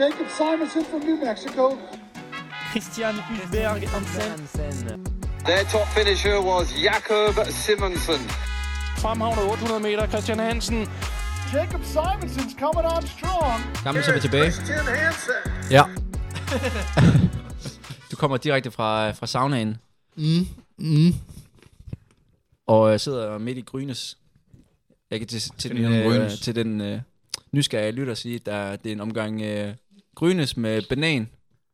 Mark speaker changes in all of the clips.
Speaker 1: Jacob Simonson from New Mexico.
Speaker 2: Christian Hulberg Hansen
Speaker 3: Their top finisher was Jakob Simonsen.
Speaker 2: fremhavner 800 meter, Christian Hansen.
Speaker 1: Jacob Simonson's coming on strong.
Speaker 4: Jamen, så er vi tilbage.
Speaker 1: Christian Hansen.
Speaker 4: Ja. du kommer direkte fra, fra saunaen. Mm. Mm. Og jeg sidder midt i Grynes. Jeg kan til, til den,
Speaker 5: Grønne
Speaker 4: øh,
Speaker 5: Grynes.
Speaker 4: til den øh, nysgerrige lytter sige, at der, det er en omgang øh, Grynes med banan,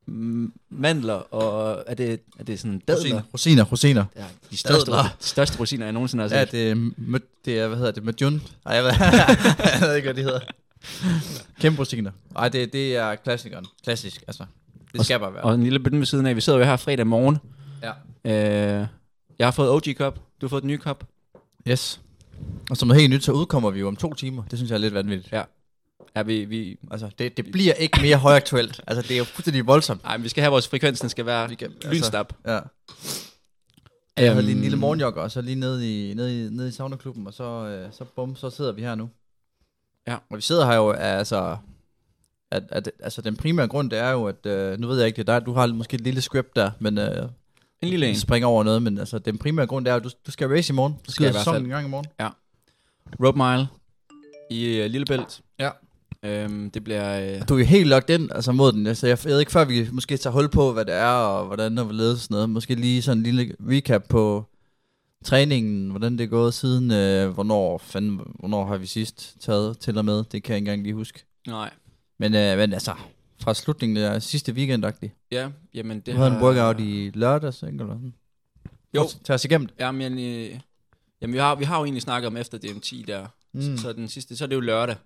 Speaker 4: m- mandler og øh, er det, er det sådan dadler?
Speaker 5: Rosiner, rosiner, rosiner.
Speaker 4: Ja, de
Speaker 5: Dadler.
Speaker 4: største, største rosiner, jeg nogensinde har set.
Speaker 5: Ja, det er, øh, mø- det er hvad hedder det, Mødjun? Ej, jeg ved, jeg ved ikke, hvad det hedder. Kæmpe rosiner. Ej, det, det er klassikeren. Klassisk, altså. Det skal bare være.
Speaker 4: Og en lille bønne ved siden af. Vi sidder jo her fredag morgen.
Speaker 5: Ja.
Speaker 4: Øh, jeg har fået OG Cup. Du har fået den nye cup.
Speaker 5: Yes. Og som noget helt nyt, så udkommer vi jo om to timer. Det synes jeg er lidt vanvittigt.
Speaker 4: Ja. Ja, vi, vi,
Speaker 5: Altså, det, det bliver ikke mere højaktuelt. Altså, det er jo fuldstændig voldsomt.
Speaker 4: Ej, men vi skal have vores frekvens, den skal være
Speaker 5: Vi kan- altså-
Speaker 4: lynstap.
Speaker 5: Ja. Jeg havde lige en lille
Speaker 4: Øhm.
Speaker 5: morgenjogger, og så lige nede i, nede i, nede i saunaklubben, og så, øh, så bum, så sidder vi her nu.
Speaker 4: Ja.
Speaker 5: Og vi sidder her jo, altså, at, at, altså den primære grund, det er jo, at, øh, nu ved jeg ikke, det er dig, du har måske et lille script der, men øh,
Speaker 4: En lille en.
Speaker 5: springer over noget, men altså den primære grund, det er jo, at du, du skal race i morgen.
Speaker 4: skal
Speaker 5: Du
Speaker 4: jeg
Speaker 5: skal
Speaker 4: i hvert
Speaker 5: sæsonen
Speaker 4: fald.
Speaker 5: en gang i morgen.
Speaker 4: Rope Mile i uh, Lillebælt.
Speaker 5: Ja.
Speaker 4: Øhm, det bliver... Øh,
Speaker 5: Du er jo helt locked ind altså, mod den. Altså, jeg, jeg ved ikke, før vi måske tager hul på, hvad det er, og hvordan og hvorledes og sådan noget. Måske lige sådan en lille recap på træningen, hvordan det er gået siden, øh, hvornår, fanden, hvornår har vi sidst taget til og med. Det kan jeg ikke engang lige huske.
Speaker 4: nej.
Speaker 5: Men, øh, men altså, fra slutningen af sidste weekend, du
Speaker 4: Ja, jamen det
Speaker 5: havde en workout i lørdags, ikke? Eller sådan.
Speaker 4: Jo.
Speaker 5: Prøv at Tag os igennem det.
Speaker 4: Jamen, jeg, øh, jamen vi, har, vi har jo egentlig snakket om efter DM10 der. Mm. Så, så, den sidste, så er det jo lørdag.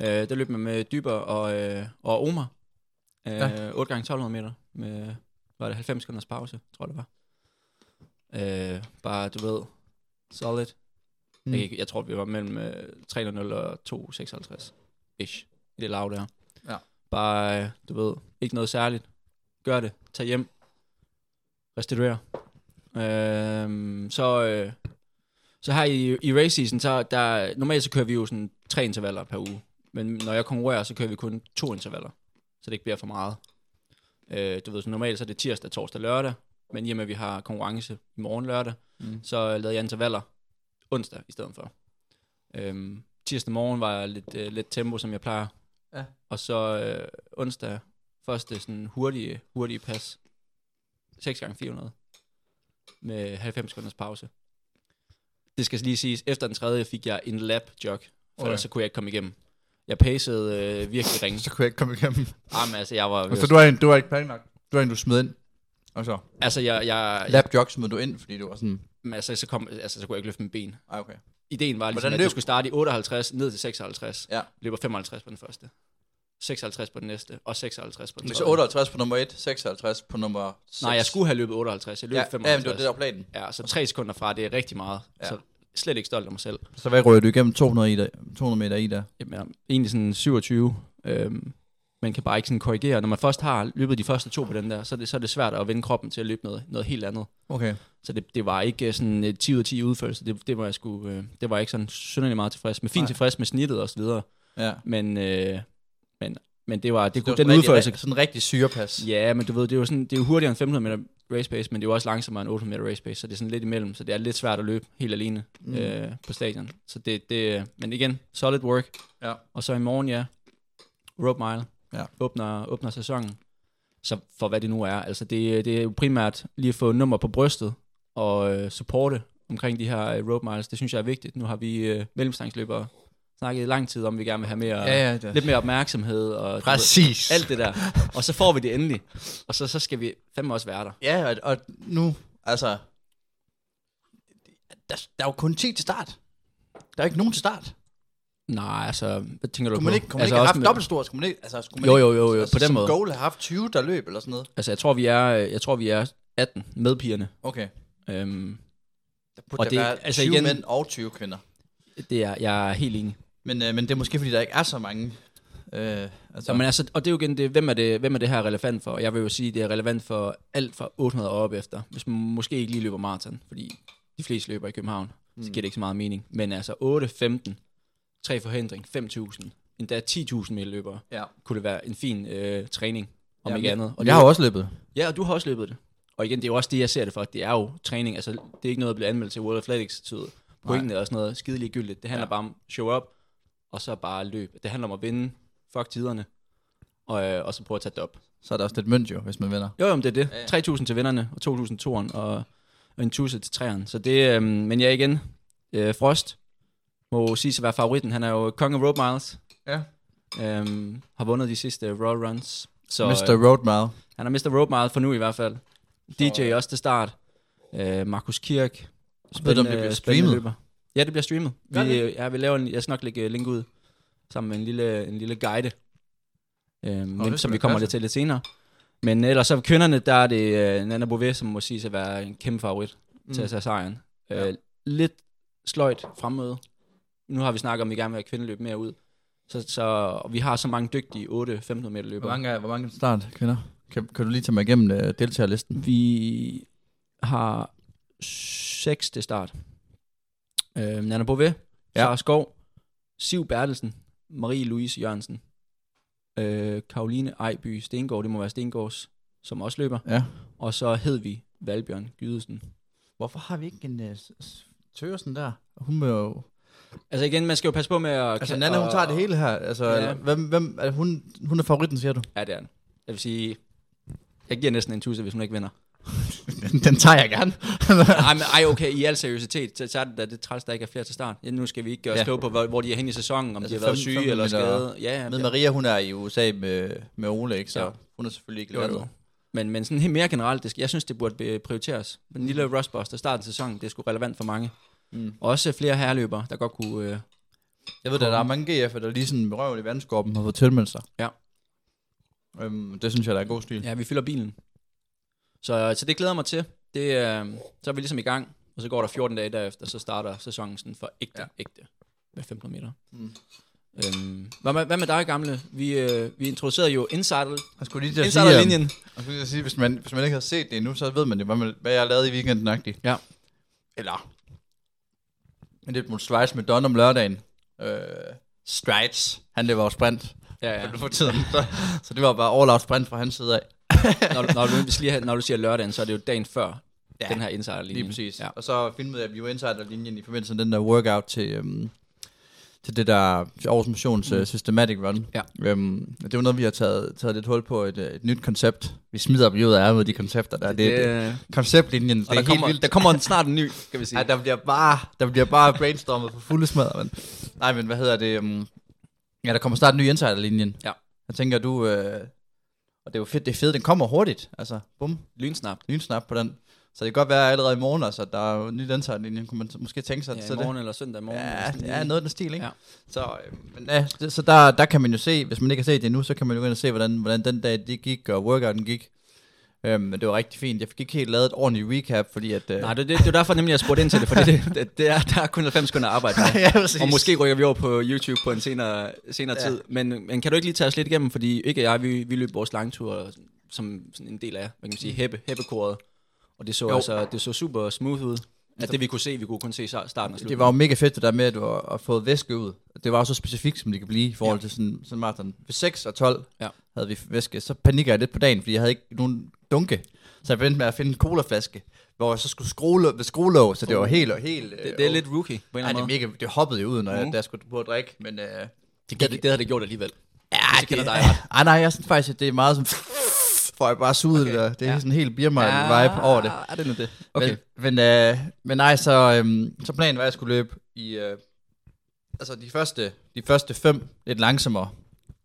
Speaker 4: Øh, der løb man med Dyber og, øh, og Omar. Øh,
Speaker 5: Ja.
Speaker 4: 8 gange 1200 meter. Med, var det 90 sekunders pause, tror jeg det var. Øh, bare, du ved, solid. Mm.
Speaker 5: Mm.
Speaker 4: Jeg, kan ikke- jeg tror, vi var mellem øh, 3.0 og 2.56 ish i det lav der.
Speaker 5: Ja.
Speaker 4: Bare, øh, du ved, ikke noget særligt. Gør det. Tag hjem. Restituer. Øhm, så, øh, så her i, i race season, så der, normalt så kører vi jo sådan tre intervaller per uge. Men når jeg konkurrerer, så kører vi kun to intervaller. Så det ikke bliver for meget. Øh, du ved, så normalt så er det tirsdag, torsdag, lørdag. Men i og med, at vi har konkurrence i morgen lørdag, mm.
Speaker 5: Mm.
Speaker 4: så lavede jeg intervaller onsdag i stedet for. Øhm, tirsdag morgen var jeg lidt, øh, lidt tempo, som jeg plejer.
Speaker 5: Ja.
Speaker 4: Og så øh, onsdag første sådan hurtige, hurtige pas. 6x400 med 90 sekunders pause. Det skal lige siges, efter den tredje fik jeg en lap jog, for
Speaker 5: Okay.
Speaker 4: ellers så kunne jeg ikke komme igennem. Jeg pacede øh, virkelig ringe.
Speaker 5: Så kunne jeg ikke komme igennem.
Speaker 4: Jamen, altså, jeg var...
Speaker 5: Så du er en, du er ikke planlagt. Du er en, du smed ind. Og så
Speaker 4: Altså, jeg, jeg, jeg,
Speaker 5: lap jog smed du ind, fordi du var sådan...
Speaker 4: altså, så kom, altså, så kunne jeg ikke løfte min ben.
Speaker 5: Ej, okay.
Speaker 4: Ideen var ligesom,
Speaker 5: Hvordan
Speaker 4: at du
Speaker 5: løb-
Speaker 4: skulle starte i 58, ned til 56.
Speaker 5: Ja.
Speaker 4: Løber 55 på den første. 56 på den næste, og 56 på den
Speaker 5: Så
Speaker 4: tredje.
Speaker 5: 58 på nummer 1, 56 på nummer 6.
Speaker 4: Nej, jeg skulle have løbet 58. Jeg løb
Speaker 5: ja,
Speaker 4: 55.
Speaker 5: Ja, men det var det, der var planen.
Speaker 4: Ja, så tre sekunder fra, det er rigtig meget. Ja.
Speaker 5: Ja.
Speaker 4: Så slet ikke stolt af mig selv.
Speaker 5: Så hvad rører du igennem 200, i der, 200 meter i der?
Speaker 4: Jamen, jeg er egentlig sådan 27. Øhm, man kan bare ikke sådan korrigere. Når man først har løbet de første to på den der, så er det, så er det svært at vende kroppen til at løbe noget, noget helt andet.
Speaker 5: Okay.
Speaker 4: Så det, det var ikke øh, sådan øh, 10 ud af 10 udførelse. Det, det, var jeg sgu, øh, det var jeg ikke sådan synderligt meget tilfreds med. Fint
Speaker 5: Nej.
Speaker 4: tilfreds med snittet og så videre.
Speaker 5: Ja.
Speaker 4: Men, øh, men, men det var, det,
Speaker 5: Det var
Speaker 4: kunne, den udførelse...
Speaker 5: Rigtig, sådan en rigtig syrepas.
Speaker 4: Ja, men du ved, det er jo, sådan, det er jo hurtigere end 500 meter race pace, men det er jo også langsommere end 800 meter race pace, så det er sådan lidt imellem, så det er lidt svært at løbe helt alene mm.
Speaker 5: Mm.
Speaker 4: øh, på stadion. Så det, det, men igen, solid work.
Speaker 5: Ja.
Speaker 4: Og så i morgen, ja, rope mile
Speaker 5: Ja.
Speaker 4: åbner, åbner sæsonen. Så for hvad det nu er, altså det, det er jo primært lige at få nummer på brystet og øh, supporte omkring de her øh, rope miles, det synes jeg er vigtigt. Nu har vi øh, mellemstangsløbere snakket i lang tid om, at vi gerne vil have mere,
Speaker 5: Ja, ja, det er-
Speaker 4: lidt mere opmærksomhed. Og, du ved,
Speaker 5: Præcis.
Speaker 4: alt det der. Og så får vi det endelig. Og så, så skal vi fandme også være der.
Speaker 5: Ja, og, og nu, altså... Der, der er jo kun 10 til start. Der er ikke nogen til start.
Speaker 4: Nej, altså, hvad tænker du
Speaker 5: Kunne man
Speaker 4: på?
Speaker 5: ikke, kunne man
Speaker 4: altså,
Speaker 5: altså ikke have
Speaker 4: også
Speaker 5: haft dobbelt stort? Skulle man ikke, altså, skulle man
Speaker 4: Jo,
Speaker 5: ikke,
Speaker 4: jo, jo, jo,
Speaker 5: altså,
Speaker 4: på den
Speaker 5: som
Speaker 4: måde.
Speaker 5: goal have haft 20, der løb eller sådan noget.
Speaker 4: Altså, jeg tror, vi er, jeg tror, vi er 18 med pigerne.
Speaker 5: Okay.
Speaker 4: Øhm,
Speaker 5: Der burde
Speaker 4: Og
Speaker 5: og
Speaker 4: det-
Speaker 5: der det, være
Speaker 4: altså
Speaker 5: 20
Speaker 4: igen-
Speaker 5: igen, mænd og 20 kvinder.
Speaker 4: det er, jeg er helt enig.
Speaker 5: Men, øh, men det er måske, fordi der ikke er så mange... Øh, altså,
Speaker 4: Så, men altså, og det er jo igen det, hvem er det, hvem er det her relevant for? Jeg vil jo sige, det er relevant for alt fra 800 og op efter. Hvis man måske ikke lige løber maraton, fordi de fleste
Speaker 5: Mm.
Speaker 4: løber i København, så giver det ikke så meget mening. Men altså 8, 15, 3 forhindring, 5.000, endda 10.000 meter løbere,
Speaker 5: Ja.
Speaker 4: kunne det være en fin øh, træning, om
Speaker 5: Ja,
Speaker 4: ikke
Speaker 5: men-
Speaker 4: andet.
Speaker 5: Og
Speaker 4: det-
Speaker 5: jeg har jo også løbet.
Speaker 4: Ja, og du har også løbet det. Og igen, det er jo også det, jeg ser det for. Det er jo træning. Altså, det er ikke noget, der bliver anmeldt til World Athletics tid. Pointen er også noget skide ligegyldigt. Det handler
Speaker 5: Ja.
Speaker 4: ja. bare om show up, og så bare løb. Det handler om at vinde. Fuck tiderne. Og, øh, og så prøve at tage det op.
Speaker 5: Så er der også lidt mønt jo, hvis man vinder.
Speaker 4: Jo, jo, men det er
Speaker 5: ja.
Speaker 4: det. 3.000 til vinderne, og 2.000 til toren, og, og en tusse til træerne. Så det, øh, men jeg igen, øh, Frost må sige at være favoritten. Han er jo konge af road miles.
Speaker 5: Ja.
Speaker 4: Øh, har vundet de sidste road runs. Så,
Speaker 5: Så,
Speaker 4: øh,
Speaker 5: Mr. Roadmile.
Speaker 4: han har mistet rope meget for nu i hvert fald. DJ
Speaker 5: øh,
Speaker 4: også til start. Øh, Markus Kirk.
Speaker 5: Ved du, om det bliver
Speaker 4: spændende
Speaker 5: streamet?
Speaker 4: løber. Ja, det bliver streamet. Vi,
Speaker 5: Gør det?
Speaker 4: øh, ja, vi laver en, jeg skal nok lægge øh, link ud sammen med en lille, en lille guide, øh, men,
Speaker 5: det
Speaker 4: som
Speaker 5: skulle
Speaker 4: vi
Speaker 5: da
Speaker 4: kommer
Speaker 5: passe.
Speaker 4: lidt til lidt senere. Men ellers så kvinderne, der er det øh, Nana Bové, som må sige at være en kæmpe favorit mm. til at tage sejren.
Speaker 5: Ja.
Speaker 4: Øh, lidt sløjt fremmøde. Nu har vi snakket om, at vi gerne vil have kvindeløb mere ud. Så, så og vi har så mange dygtige 8-15 meter
Speaker 5: Hvor
Speaker 4: løbere.
Speaker 5: mange, er- hvor mange start kvinder? Kan, kan du lige tage mig igennem uh, deltagerlisten?
Speaker 4: Vi har seks til start. Øh, Nana Bové, ja. Sara Skov, Siv Bertelsen, Marie-Louise Jørgensen, øh, Karoline Ejby Stengård, det må være Stengårds, som også løber,
Speaker 5: Ja.
Speaker 4: og så hed vi Valbjørn Gydesen.
Speaker 5: Hvorfor har vi ikke en uh, Tøgersen der? Hun må jo...
Speaker 4: Altså igen, man skal jo passe på med at...
Speaker 5: Altså, Nana, hun tager det hele her. Altså,
Speaker 4: Ja.
Speaker 5: hvem, hvem, er hun, hun er favoritten, siger du?
Speaker 4: Ja, det er den. Jeg vil sige, jeg giver næsten en tusse, hvis hun ikke vinder.
Speaker 5: Den tager jeg gerne.
Speaker 4: Ej, men, ej, okay, i al seriøsitet, så, så er det da det træls, der ikke er flere til start. Ja, nu skal vi ikke gøre os
Speaker 5: Ja.
Speaker 4: ja. kloge på, hvor, hvor de er henne i sæsonen, om
Speaker 5: Altså
Speaker 4: altså de har været
Speaker 5: 15
Speaker 4: syge eller
Speaker 5: meter
Speaker 4: skade. Ja, ja,
Speaker 5: med
Speaker 4: ja.
Speaker 5: Maria, hun er i USA med, med Ole, ikke? Så
Speaker 4: Ja.
Speaker 5: hun er selvfølgelig ikke
Speaker 4: Jo, jo. Men, men sådan helt mere generelt, det skal, jeg synes, det burde øh, prioriteres. Den lille rustbuster, starten af sæsonen, det er sgu relevant for mange.
Speaker 5: Mm.
Speaker 4: Mm. Også flere herreløbere, der godt kunne... Øh,
Speaker 5: Jeg ved, at der er mange GF'er, der lige sådan med røven i vandskorpen har fået tilmeldt sig.
Speaker 4: Ja.
Speaker 5: Øhm, det synes jeg, der er god stil.
Speaker 4: ja, vi fylder bilen. Så, så det glæder jeg mig til. Det, øh, så er vi ligesom i gang, og så går der 14 dage derefter, så starter sæsonen sådan for ægte,
Speaker 5: Ja.
Speaker 4: ja. ægte med 15 meter.
Speaker 5: Mm.
Speaker 4: Mm. Øhm, hvad, med, hvad med dig, gamle? Vi, øh, vi introducerede jo Insider,
Speaker 5: Jeg skulle lige til at sige, øhm,
Speaker 4: Insiderlinjen.
Speaker 5: jeg skulle lige til at sige hvis, man, hvis man ikke har set det endnu, så ved man det, hvad, man, hvad jeg lavede i weekenden -agtigt.
Speaker 4: Ja.
Speaker 5: Eller... Men det er mod Schweiz med Don om lørdagen. Øh, Strides. Han løber jo sprint.
Speaker 4: Ja,
Speaker 5: Ja.
Speaker 4: ja.
Speaker 5: For tiden. Så, så det var bare all out sprint fra hans side af.
Speaker 4: Når, du- når, du, hvis lige, her- når du siger lørdagen, så er det jo dagen før ja, den her Insiderlinje.
Speaker 5: Lige præcis. Ja.
Speaker 4: Ja.
Speaker 5: Og så filmede jeg View Insider-linjen i forbindelse med den der workout til, øhm, til det der til Aarhus Missions mm. uh, Systematic Run.
Speaker 4: Ja.
Speaker 5: Øhm, og det er jo noget, vi har taget, taget lidt hul på, et, øh, et nyt koncept. Vi smider op i ud af ærmet, de koncepter der. Det, det, det,
Speaker 4: øh,
Speaker 5: konceptlinjen, det
Speaker 4: Og
Speaker 5: er
Speaker 4: der
Speaker 5: helt
Speaker 4: kommer,
Speaker 5: vildt.
Speaker 4: der kommer en, snart en ny, skal vi sige.
Speaker 5: Ej, der bliver bare, der bliver bare brainstormet på fulde smadre, men. Nej, men hvad hedder det? Um, ja, der kommer snart en ny Insider-linjen.
Speaker 4: Ja.
Speaker 5: Jeg tænker, du... Øh, og det er jo fedt, det er fedt, den kommer hurtigt. Altså, bum,
Speaker 4: Lynsnapt.
Speaker 5: lynsnap på den. Så det kan godt være allerede i morgen, altså, der er en ny Insider-linjen, kunne man så- måske tænke sig.
Speaker 4: Ja,
Speaker 5: så
Speaker 4: i morgen eller søndag
Speaker 5: det,
Speaker 4: morgen. eller
Speaker 5: ja,
Speaker 4: sådan
Speaker 5: det er noget af den stil, ikke?
Speaker 4: Ja.
Speaker 5: Så, øh, men, ja, det, så der, der kan man jo se, hvis man ikke har set det endnu, så kan man jo gå ind og se, hvordan, hvordan den dag det gik, og workouten gik. Øhm, men det var rigtig fint. Jeg fik ikke helt lavet et ordentligt recap, fordi at... Øh,
Speaker 4: Nej, det, det, det er derfor nemlig, jeg spurgte ind til det, for det, det, det er, der er kun 90 sekunder at arbejde med.
Speaker 5: ja, præcis.
Speaker 4: Og måske rykker vi over på YouTube på en senere, senere
Speaker 5: Ja.
Speaker 4: ja. tid. Men, men kan du ikke lige tage os lidt igennem, fordi ikke og jeg, vi, vi løb vores langtur som sådan en del af, hvad kan man sige, heppe, heppekoret. Og det så,
Speaker 5: Mm. Jo. Altså-
Speaker 4: altså, det så super smooth ud. At det vi kunne se, vi kunne kun se sa- starten og slutningen.
Speaker 5: Det var jo mega fedt det der med, at du har har fået væske ud. Det var jo så specifikt, som det kan blive i forhold ja.
Speaker 4: Ja.
Speaker 5: til sådan, sådan maraton. Ved 6 og 12 ja.
Speaker 4: Ja.
Speaker 5: havde vi væske. Så panikker jeg lidt på dagen, fordi jeg havde ikke nogen dunke. Så jeg begyndte med at finde en colaflaske, hvor jeg så skulle skrue lå- ved skruelåg, så det var helt og helt... øh,
Speaker 4: det, det er lidt rookie på en eller
Speaker 5: Nej, det,
Speaker 4: anden
Speaker 5: er
Speaker 4: måde.
Speaker 5: mega, det hoppede jo ud, når jeg,
Speaker 4: Mhm.
Speaker 5: da jeg skulle på at drikke, men... Øh,
Speaker 4: Det, det, det havde det gjort alligevel. Ja, det kender dig ret.
Speaker 5: ej, nej, jeg synes faktisk, at det er meget som... Får jeg bare suget okay. det der. Det er ja. sådan en helt Birma-vibe over det.
Speaker 4: Er det nu det? Okay.
Speaker 5: Okay. Men, men, øh, men nej, så, øhm, så planen var, at jeg skulle løbe i... Øh, altså de første, de første fem lidt langsommere,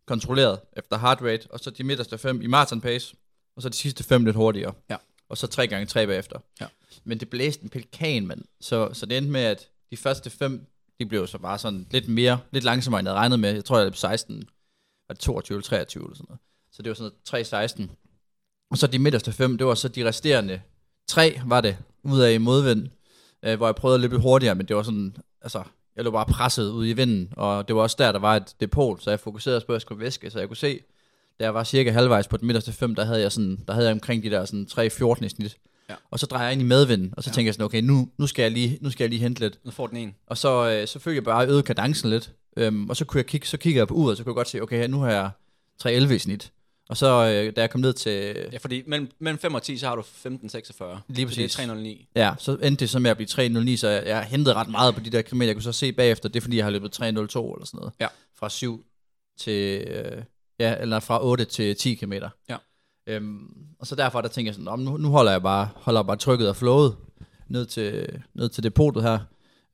Speaker 5: kontrolleret efter heart rate, og så de midterste fem i marathon pace, og så de sidste fem lidt hurtigere.
Speaker 4: Ja.
Speaker 5: Og så tre gange tre bagefter.
Speaker 4: Ja.
Speaker 5: Men det blæste en pelikan, mand. Så, så det endte med, at de første fem, de blev så bare sådan lidt mere, lidt langsommere, end jeg havde regnet med. Jeg tror, jeg løb 16, var det 22 eller 23 eller sådan noget. Så det var sådan noget 3-16. Og så de midterste fem, det var så de resterende tre, var det, ud af i modvind, øh, hvor jeg prøvede at løbe lidt hurtigere, men det var sådan, altså, jeg lå bare presset ud i vinden, og det var også der, der var et depot, så jeg fokuserede også på, at jeg skulle væske, så jeg kunne se, da jeg var cirka halvvejs på den midterste fem, der havde jeg, sådan, der havde jeg omkring de der sådan 3-14 i snit.
Speaker 4: Ja.
Speaker 5: Og så drejer jeg ind i medvinden, og så ja. tænker jeg sådan, okay, nu, nu, skal jeg lige, nu skal jeg lige hente lidt.
Speaker 4: Nu får den en.
Speaker 5: Og så, øh, så følte jeg bare, at jeg øgede kadencen lidt. Øhm, og så kunne jeg kigge, så kigger jeg på uret, så kunne jeg godt se, okay, nu har jeg 3.11 i snit. Og så øh, da jeg kom ned til,
Speaker 4: Ja, fordi mellem, mellem 5 og 10, så har du 1546. Så
Speaker 5: Lige
Speaker 4: det er
Speaker 5: præcis.
Speaker 4: 309.
Speaker 5: ja, så endte det så med at blive 3.09, så jeg, jeg hentede ret meget på de der kilometer. Jeg kunne så se bagefter, det er fordi, jeg har løbet 3.02 eller sådan noget.
Speaker 4: Ja.
Speaker 5: Fra 7 til, øh, ja, eller fra 8 til 10 km.
Speaker 4: Ja.
Speaker 5: Øhm, og så derfra, der tænker jeg sådan, "Nå, men nu, nu holder jeg bare, holder jeg bare trykket og flowet ned til, ned til depotet her.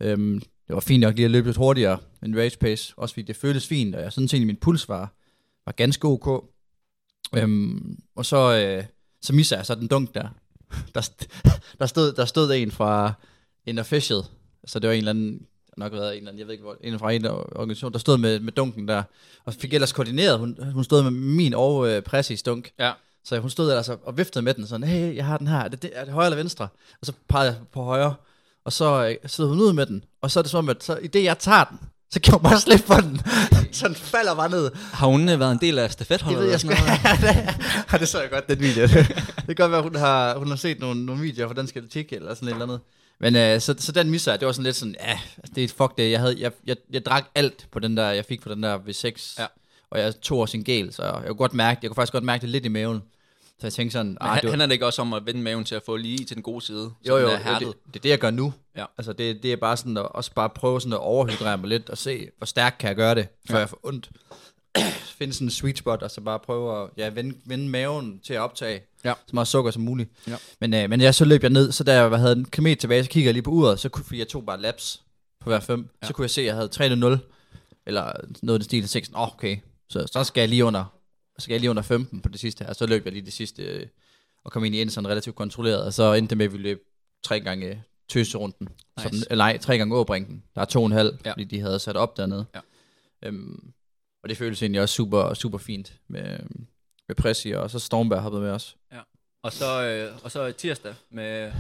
Speaker 5: Øhm, det var fint nok lige at løbe lidt hurtigere end race pace, også fordi det føltes fint, og jeg synes egentlig, min puls var, var ganske ok. Øhm, og så, øh, så misser jeg så den dunk der. Der, st- der, stod, der stod en fra en official, så det var en eller anden, nok været en eller anden, jeg ved ikke hvor, en fra en organisation, der stod med, med dunken der, og fik ellers koordineret, hun, hun stod med min og øh, præcis dunk,
Speaker 4: Ja.
Speaker 5: så hun stod ellers og, og viftede med den sådan, hey, jeg har den her, er det, det, er det højre eller venstre? Og så pegede jeg på højre, og så øh, sidder hun ud med den, og så er det som om, at så, i det jeg tager den, så kan hun bare slippe på den, så den falder bare ned,
Speaker 4: Har hun øh, været en del af stafetholdet?
Speaker 5: det ved jeg sgu
Speaker 4: eller sådan noget?
Speaker 5: ja, det så jeg godt, den video. det kan godt være, hun har, hun har set nogle, nogle videoer fra Dansk Atletik eller sådan et eller andet. Men øh, så, så den misser jeg. Det var sådan lidt sådan, ja, altså, det er et fuck det. Jeg, havde, jeg, jeg, jeg drak alt på den der, jeg fik på den der V6.
Speaker 4: Ja.
Speaker 5: Og jeg tog også en gel, så jeg kunne, godt mærke, jeg kunne faktisk godt mærke det lidt i maven. Så jeg tænkte sådan,
Speaker 4: Men
Speaker 5: ah, det
Speaker 4: han,
Speaker 5: var,
Speaker 4: handler det ikke også om at vende maven til at få lige til den gode side? så
Speaker 5: jo,
Speaker 4: den
Speaker 5: jo,
Speaker 4: er
Speaker 5: jo det,
Speaker 4: øh, hærdet?
Speaker 5: det, er det, jeg gør nu.
Speaker 4: Ja.
Speaker 5: Altså, det, det er bare sådan at, også bare prøve sådan at overhydrere mig lidt og se, hvor stærkt kan jeg gøre det, før ja. jeg får ondt. Finde sådan en sweet spot, og så bare prøve at ja, vende, vende maven til at optage
Speaker 4: Ja.
Speaker 5: så meget sukker som muligt.
Speaker 4: Ja.
Speaker 5: Men, øh, men ja, så løb jeg ned, så da jeg havde en kilometer tilbage, så kiggede jeg lige på uret, så kunne, fordi jeg tog bare laps på hver fem, ja. så kunne jeg se, at jeg havde 3-0, eller noget i den stil, og tænkte sådan, oh, okay, så, så skal jeg lige under så skal jeg lige under 15 på det sidste her, og så løb jeg lige det sidste, øh, og kom egentlig ind sådan relativt kontrolleret, og så endte det med, at vi løb tre gange tøserunden. Nice. Sådan, eller nej, tre gange Åbrinken. Der er to og en halv,
Speaker 4: Ja.
Speaker 5: ja. fordi de havde sat op dernede.
Speaker 4: Ja.
Speaker 5: Øhm, og det føltes egentlig også super, super fint med, med Pressi, og så Stormberg hoppede med os.
Speaker 4: Og så, øh, og så tirsdag med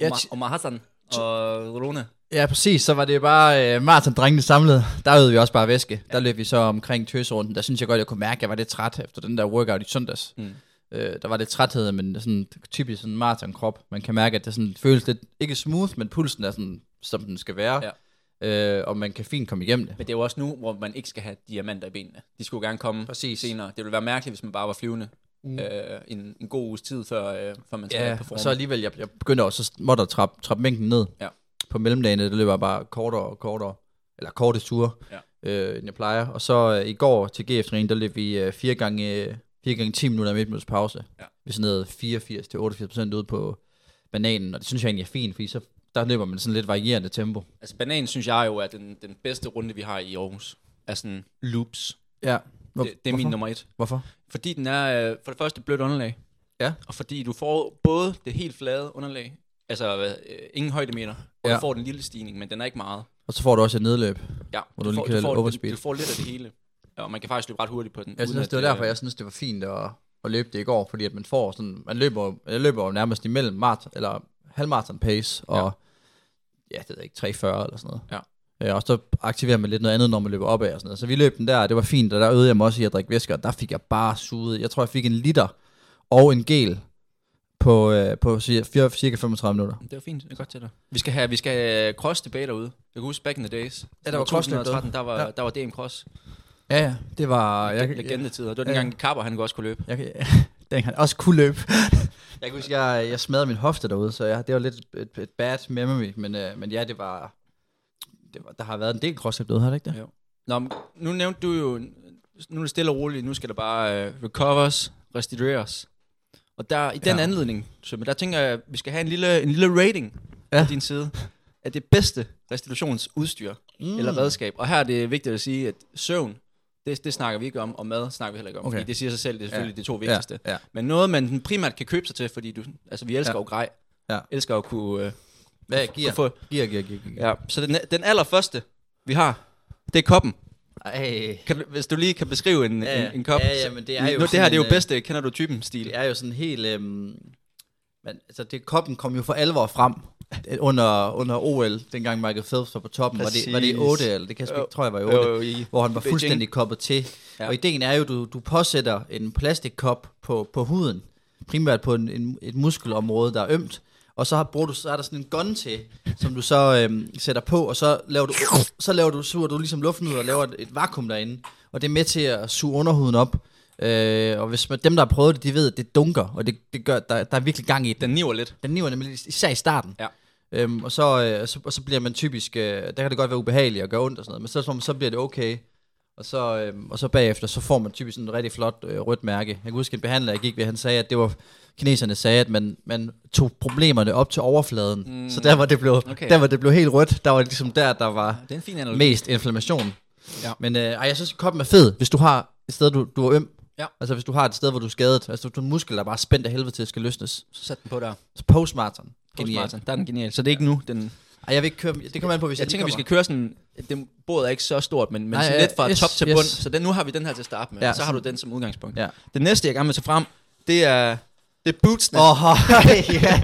Speaker 5: Ja,
Speaker 4: Omar,
Speaker 5: ti-
Speaker 4: Omar Hassan og Rune.
Speaker 5: Ja, præcis. Så var det bare øh, maraton-drengene samlet. Der øvede vi også bare væske. Der løb vi så omkring tøserunden. Der synes jeg godt, jeg kunne mærke, at jeg var lidt træt efter den der workout i søndags.
Speaker 4: Mm.
Speaker 5: Øh, der var lidt træthed, men sådan typisk sådan maratonkrop. Man kan mærke, at det sådan føles lidt, ikke smooth, men pulsen er sådan, som den skal være. Ja. Øh, og man kan fint komme igennem det.
Speaker 4: Men det er jo også nu, hvor man ikke skal have diamanter i benene. De skulle jo gerne komme
Speaker 5: Præcis.
Speaker 4: senere. Det ville være mærkeligt, hvis man bare var flyvende mm. øh, en, en god uges tid, før, øh, før man skal
Speaker 5: Ja,
Speaker 4: ja,
Speaker 5: og
Speaker 4: performe.
Speaker 5: så alligevel, jeg, jeg begynder også så måtte at trappe, trappe mængden ned.
Speaker 4: Ja.
Speaker 5: På mellemdagene, der løber jeg bare kortere og kortere, eller korte ture,
Speaker 4: Ja.
Speaker 5: øh, end jeg plejer. Og så øh, i går til gf træning der løb vi øh, 4 gange, øh, 4 gange 10 minutter med minutters pause.
Speaker 4: Ja.
Speaker 5: Vi sådan noget 84-88% ud på bananen, og det synes jeg egentlig er fint, fordi så der løber man sådan lidt varierende tempo.
Speaker 4: Altså bananen synes jeg jo er den, den bedste runde, vi har i Aarhus. Er sådan loops.
Speaker 5: Ja. Hvor,
Speaker 4: Det, det er min
Speaker 5: hvorfor?
Speaker 4: nummer et.
Speaker 5: Hvorfor?
Speaker 4: Fordi den er øh, for det første blødt underlag.
Speaker 5: Ja.
Speaker 4: Og fordi du får både det helt flade underlag, altså øh, ingen højdemeter, og ja.
Speaker 5: Ja.
Speaker 4: du får den lille stigning, men den er ikke meget.
Speaker 5: Og så får du også et nedløb.
Speaker 4: Ja,
Speaker 5: Hvor du lige kan
Speaker 4: får, du,
Speaker 5: overspeed.
Speaker 4: du får lidt af det hele. Ja, og man kan faktisk løbe ret hurtigt på den.
Speaker 5: Jeg
Speaker 4: uden
Speaker 5: synes,
Speaker 4: at,
Speaker 5: det var derfor,
Speaker 4: øh,
Speaker 5: jeg synes, det var fint at, at løbe det i går, fordi at man får sådan, man løber, jo- jeg løber jo nærmest imellem maraton, eller halvmaraton pace, og ja, det ved jeg ikke, 340 eller sådan noget.
Speaker 4: Ja.
Speaker 5: Ja, og så aktiverer man lidt noget andet, når man løber opad og sådan noget. Så vi løb den der, og det var fint, og der øvede jeg mig også i at drikke væske, og der fik jeg bare suget. Jeg tror, jeg fik en liter og en gel på, øh, på cirka, cirka 35 minutter.
Speaker 4: Det var fint, det er godt til dig. Vi skal have, vi skal have cross debater ude. Jeg kan huske back in the days.
Speaker 5: Ja, der var crossløb derude.
Speaker 4: 2013, der var,
Speaker 5: Ja.
Speaker 4: der var DM Cross.
Speaker 5: Ja, ja, det var...
Speaker 4: Jeg, legendetider. Det var dengang, Kapper han kunne også kunne løbe.
Speaker 5: Jeg kan, den kan også kunne løbe. jeg kan huske, jeg, jeg smadrede min hofte derude, så jeg, det var lidt et, et bad memory, men, øh, men ja, det var, det var... Der har været en del crossfit derude, har det ikke det?
Speaker 4: Jo. Nå, men nu nævnte du jo, nu er det stille og roligt, nu skal der bare øh, recovers, restitueres. Og der, i den
Speaker 5: Ja.
Speaker 4: anledning, Sømme, der tænker jeg, at vi skal have en lille, en lille rating ja.
Speaker 5: Ja.
Speaker 4: på din side af det bedste restitutionsudstyr mm. eller redskab. Og her er det vigtigt at sige, at søvn, det, det snakker vi ikke om, og mad snakker vi heller ikke om, okay.
Speaker 5: Okay.
Speaker 4: fordi det siger sig selv, det er selvfølgelig ja.
Speaker 5: Ja.
Speaker 4: de to vigtigste.
Speaker 5: Ja, ja.
Speaker 4: Men noget, man sådan primært kan købe sig til, fordi du, altså, vi elsker ja.
Speaker 5: Ja.
Speaker 4: jo grej,
Speaker 5: Ja.
Speaker 4: elsker at kunne, øh,
Speaker 5: Hvad
Speaker 4: kunne
Speaker 5: gear?
Speaker 4: få...
Speaker 5: Gear, gear, gear, gear.
Speaker 4: Ja. Så den, den allerførste, vi har, det er koppen.
Speaker 5: Ej,
Speaker 4: Kan du, hvis du lige kan beskrive en,
Speaker 5: Ja,
Speaker 4: ja,
Speaker 5: ja.
Speaker 4: en, en kop.
Speaker 5: Ja, ja, men det er
Speaker 4: nu,
Speaker 5: jo
Speaker 4: det her
Speaker 5: sådan
Speaker 4: det er jo
Speaker 5: en, øh,
Speaker 4: bedste, kender du typen stil.
Speaker 5: det er jo sådan helt... Øhm, men, altså, det, koppen kom jo for alvor frem under, under OL, dengang Michael Phelps var på toppen. Var det, var det i
Speaker 4: Præcis.
Speaker 5: 8, eller det kan jeg sgu ikke, tror jeg var i 8.
Speaker 4: jo, i,
Speaker 5: hvor han var
Speaker 4: Beijing.
Speaker 5: fuldstændig koppet til.
Speaker 4: Ja.
Speaker 5: Ja. Og ideen er jo, at du, du påsætter en plastikkop på, på huden, primært på en, en, et muskelområde, der er ømt, og så har, bruger du, så er der sådan en gun til, som du så øhm, sætter på, og så laver du, så laver du, suger du ligesom luften ud og laver et, et vakuum derinde, og det er med til at suge underhuden op, øh, og hvis man, dem, der har prøvet det, de ved, at det dunker, og det, det gør, der, der er virkelig gang i den.
Speaker 4: Den niver lidt.
Speaker 5: Den niver nemlig is- især i starten.
Speaker 4: Ja.
Speaker 5: Øhm, og, så, øh, så, og så bliver man typisk, øh, der kan det godt være ubehageligt og gøre ondt og sådan noget, men så, så, så bliver det okay. Og så, øhm, og så bagefter, så får man typisk sådan et rigtig flot øh, rødt mærke. Jeg kan huske en behandler, jeg gik ved, han sagde, at det var, kineserne sagde, at man, man tog problemerne op til overfladen. Mm. Så der, hvor det, blev,
Speaker 4: Okay.
Speaker 5: okay. der, hvor det blev helt rødt, der var ligesom der, der var
Speaker 4: Det er en fin analogi.
Speaker 5: mest inflammation.
Speaker 4: Ja.
Speaker 5: Men øh, ej, jeg synes, koppen er fed, hvis du har et sted, du, du er øm.
Speaker 4: Ja.
Speaker 5: Altså hvis du har et sted, hvor du er skadet. Altså du har en muskel, der er bare spændt af helvede til at skal løsnes.
Speaker 4: Så sæt den på der.
Speaker 5: Så postmarathon.
Speaker 4: Genial.
Speaker 5: Genial.
Speaker 4: Der er den genial. Så det er ikke nu. Den,
Speaker 5: Ej, jeg vil ikke køre, det kommer an på, hvis jeg,
Speaker 4: jeg tænker, vi
Speaker 5: lige
Speaker 4: skal køre sådan... Det, bordet er ikke så stort, men, men
Speaker 5: Nej,
Speaker 4: sådan
Speaker 5: ja,
Speaker 4: lidt fra
Speaker 5: yes,
Speaker 4: top til
Speaker 5: yes.
Speaker 4: bund. Så den, nu har vi den her til at starte med.
Speaker 5: Ja,
Speaker 4: Ja, så har du
Speaker 5: sådan.
Speaker 4: den som udgangspunkt.
Speaker 5: Ja.
Speaker 4: Det næste, jeg gerne vil tage frem, det er, det er bootsene.
Speaker 5: Åh, oh, ja.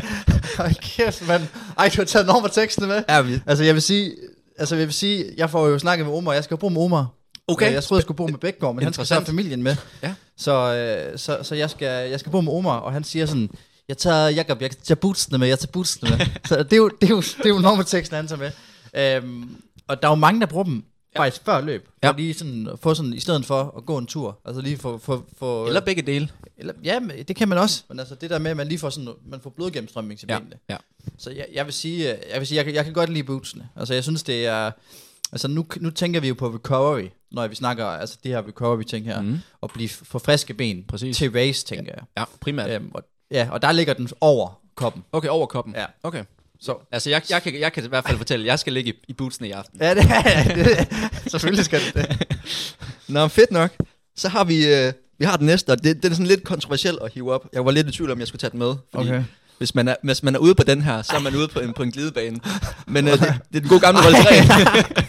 Speaker 5: Ej, kæft, mand. Ej, du har taget enormt teksten med.
Speaker 4: Ja, vi-
Speaker 5: Altså, jeg vil sige... Altså, jeg vil sige, jeg får jo snakket med Omar, jeg skal jo bo med Omar.
Speaker 4: Okay.
Speaker 5: Øh, Jeg troede, jeg skulle bo med Bækgaard, men han skal så have
Speaker 4: Interessant.
Speaker 5: familien med.
Speaker 4: Ja.
Speaker 5: Så, øh, så, så jeg, skal, jeg skal bo med Omar, og han siger sådan, jeg tager, Jacob, jeg tager bootsene med, jeg tager bootsene med. så det er jo, det er jo, det er jo enormt teksten, han tager med. Øhm, og der er jo mange, der bruger dem faktisk før løb.
Speaker 4: Ja.
Speaker 5: Ja. lige sådan, få sådan, i stedet for at gå en tur. Altså lige få, få, få
Speaker 4: Eller begge dele.
Speaker 5: eller, ja, men det kan man også. Men altså det der med, at man lige får, sådan, man får blodgennemstrømning til benene.
Speaker 4: ja.
Speaker 5: Så jeg, jeg vil sige, øh, jeg, vil sige jeg, kan- jeg kan godt lide bootsene. Altså jeg synes, det er... Altså nu, nu tænker vi jo på recovery, når vi snakker altså det her recovery-ting her. Mm. Og blive f- få friske ben
Speaker 4: Præcis.
Speaker 5: til race, tænker jeg.
Speaker 4: Ja, primært.
Speaker 5: Øhm, og, ja, og der ligger den over koppen.
Speaker 4: Okay, over koppen.
Speaker 5: Ja.
Speaker 4: Okay.
Speaker 5: Så.
Speaker 4: Altså, jeg, jeg, kan, jeg kan i hvert fald fortælle, at jeg skal ligge i, i bootsene i aften.
Speaker 5: Ja, det, det, selvfølgelig skal det det.
Speaker 4: Nå, fedt nok. Så har vi, øh, vi har den næste, og det, den er sådan lidt kontroversiel at hive op. Jeg var lidt i tvivl om, jeg skulle tage den med. Fordi
Speaker 5: Okay.
Speaker 4: hvis, man er, hvis man er ude på den her, så er man ude på en, på en glidebane. Men øh, det, det er den gode gamle Rolls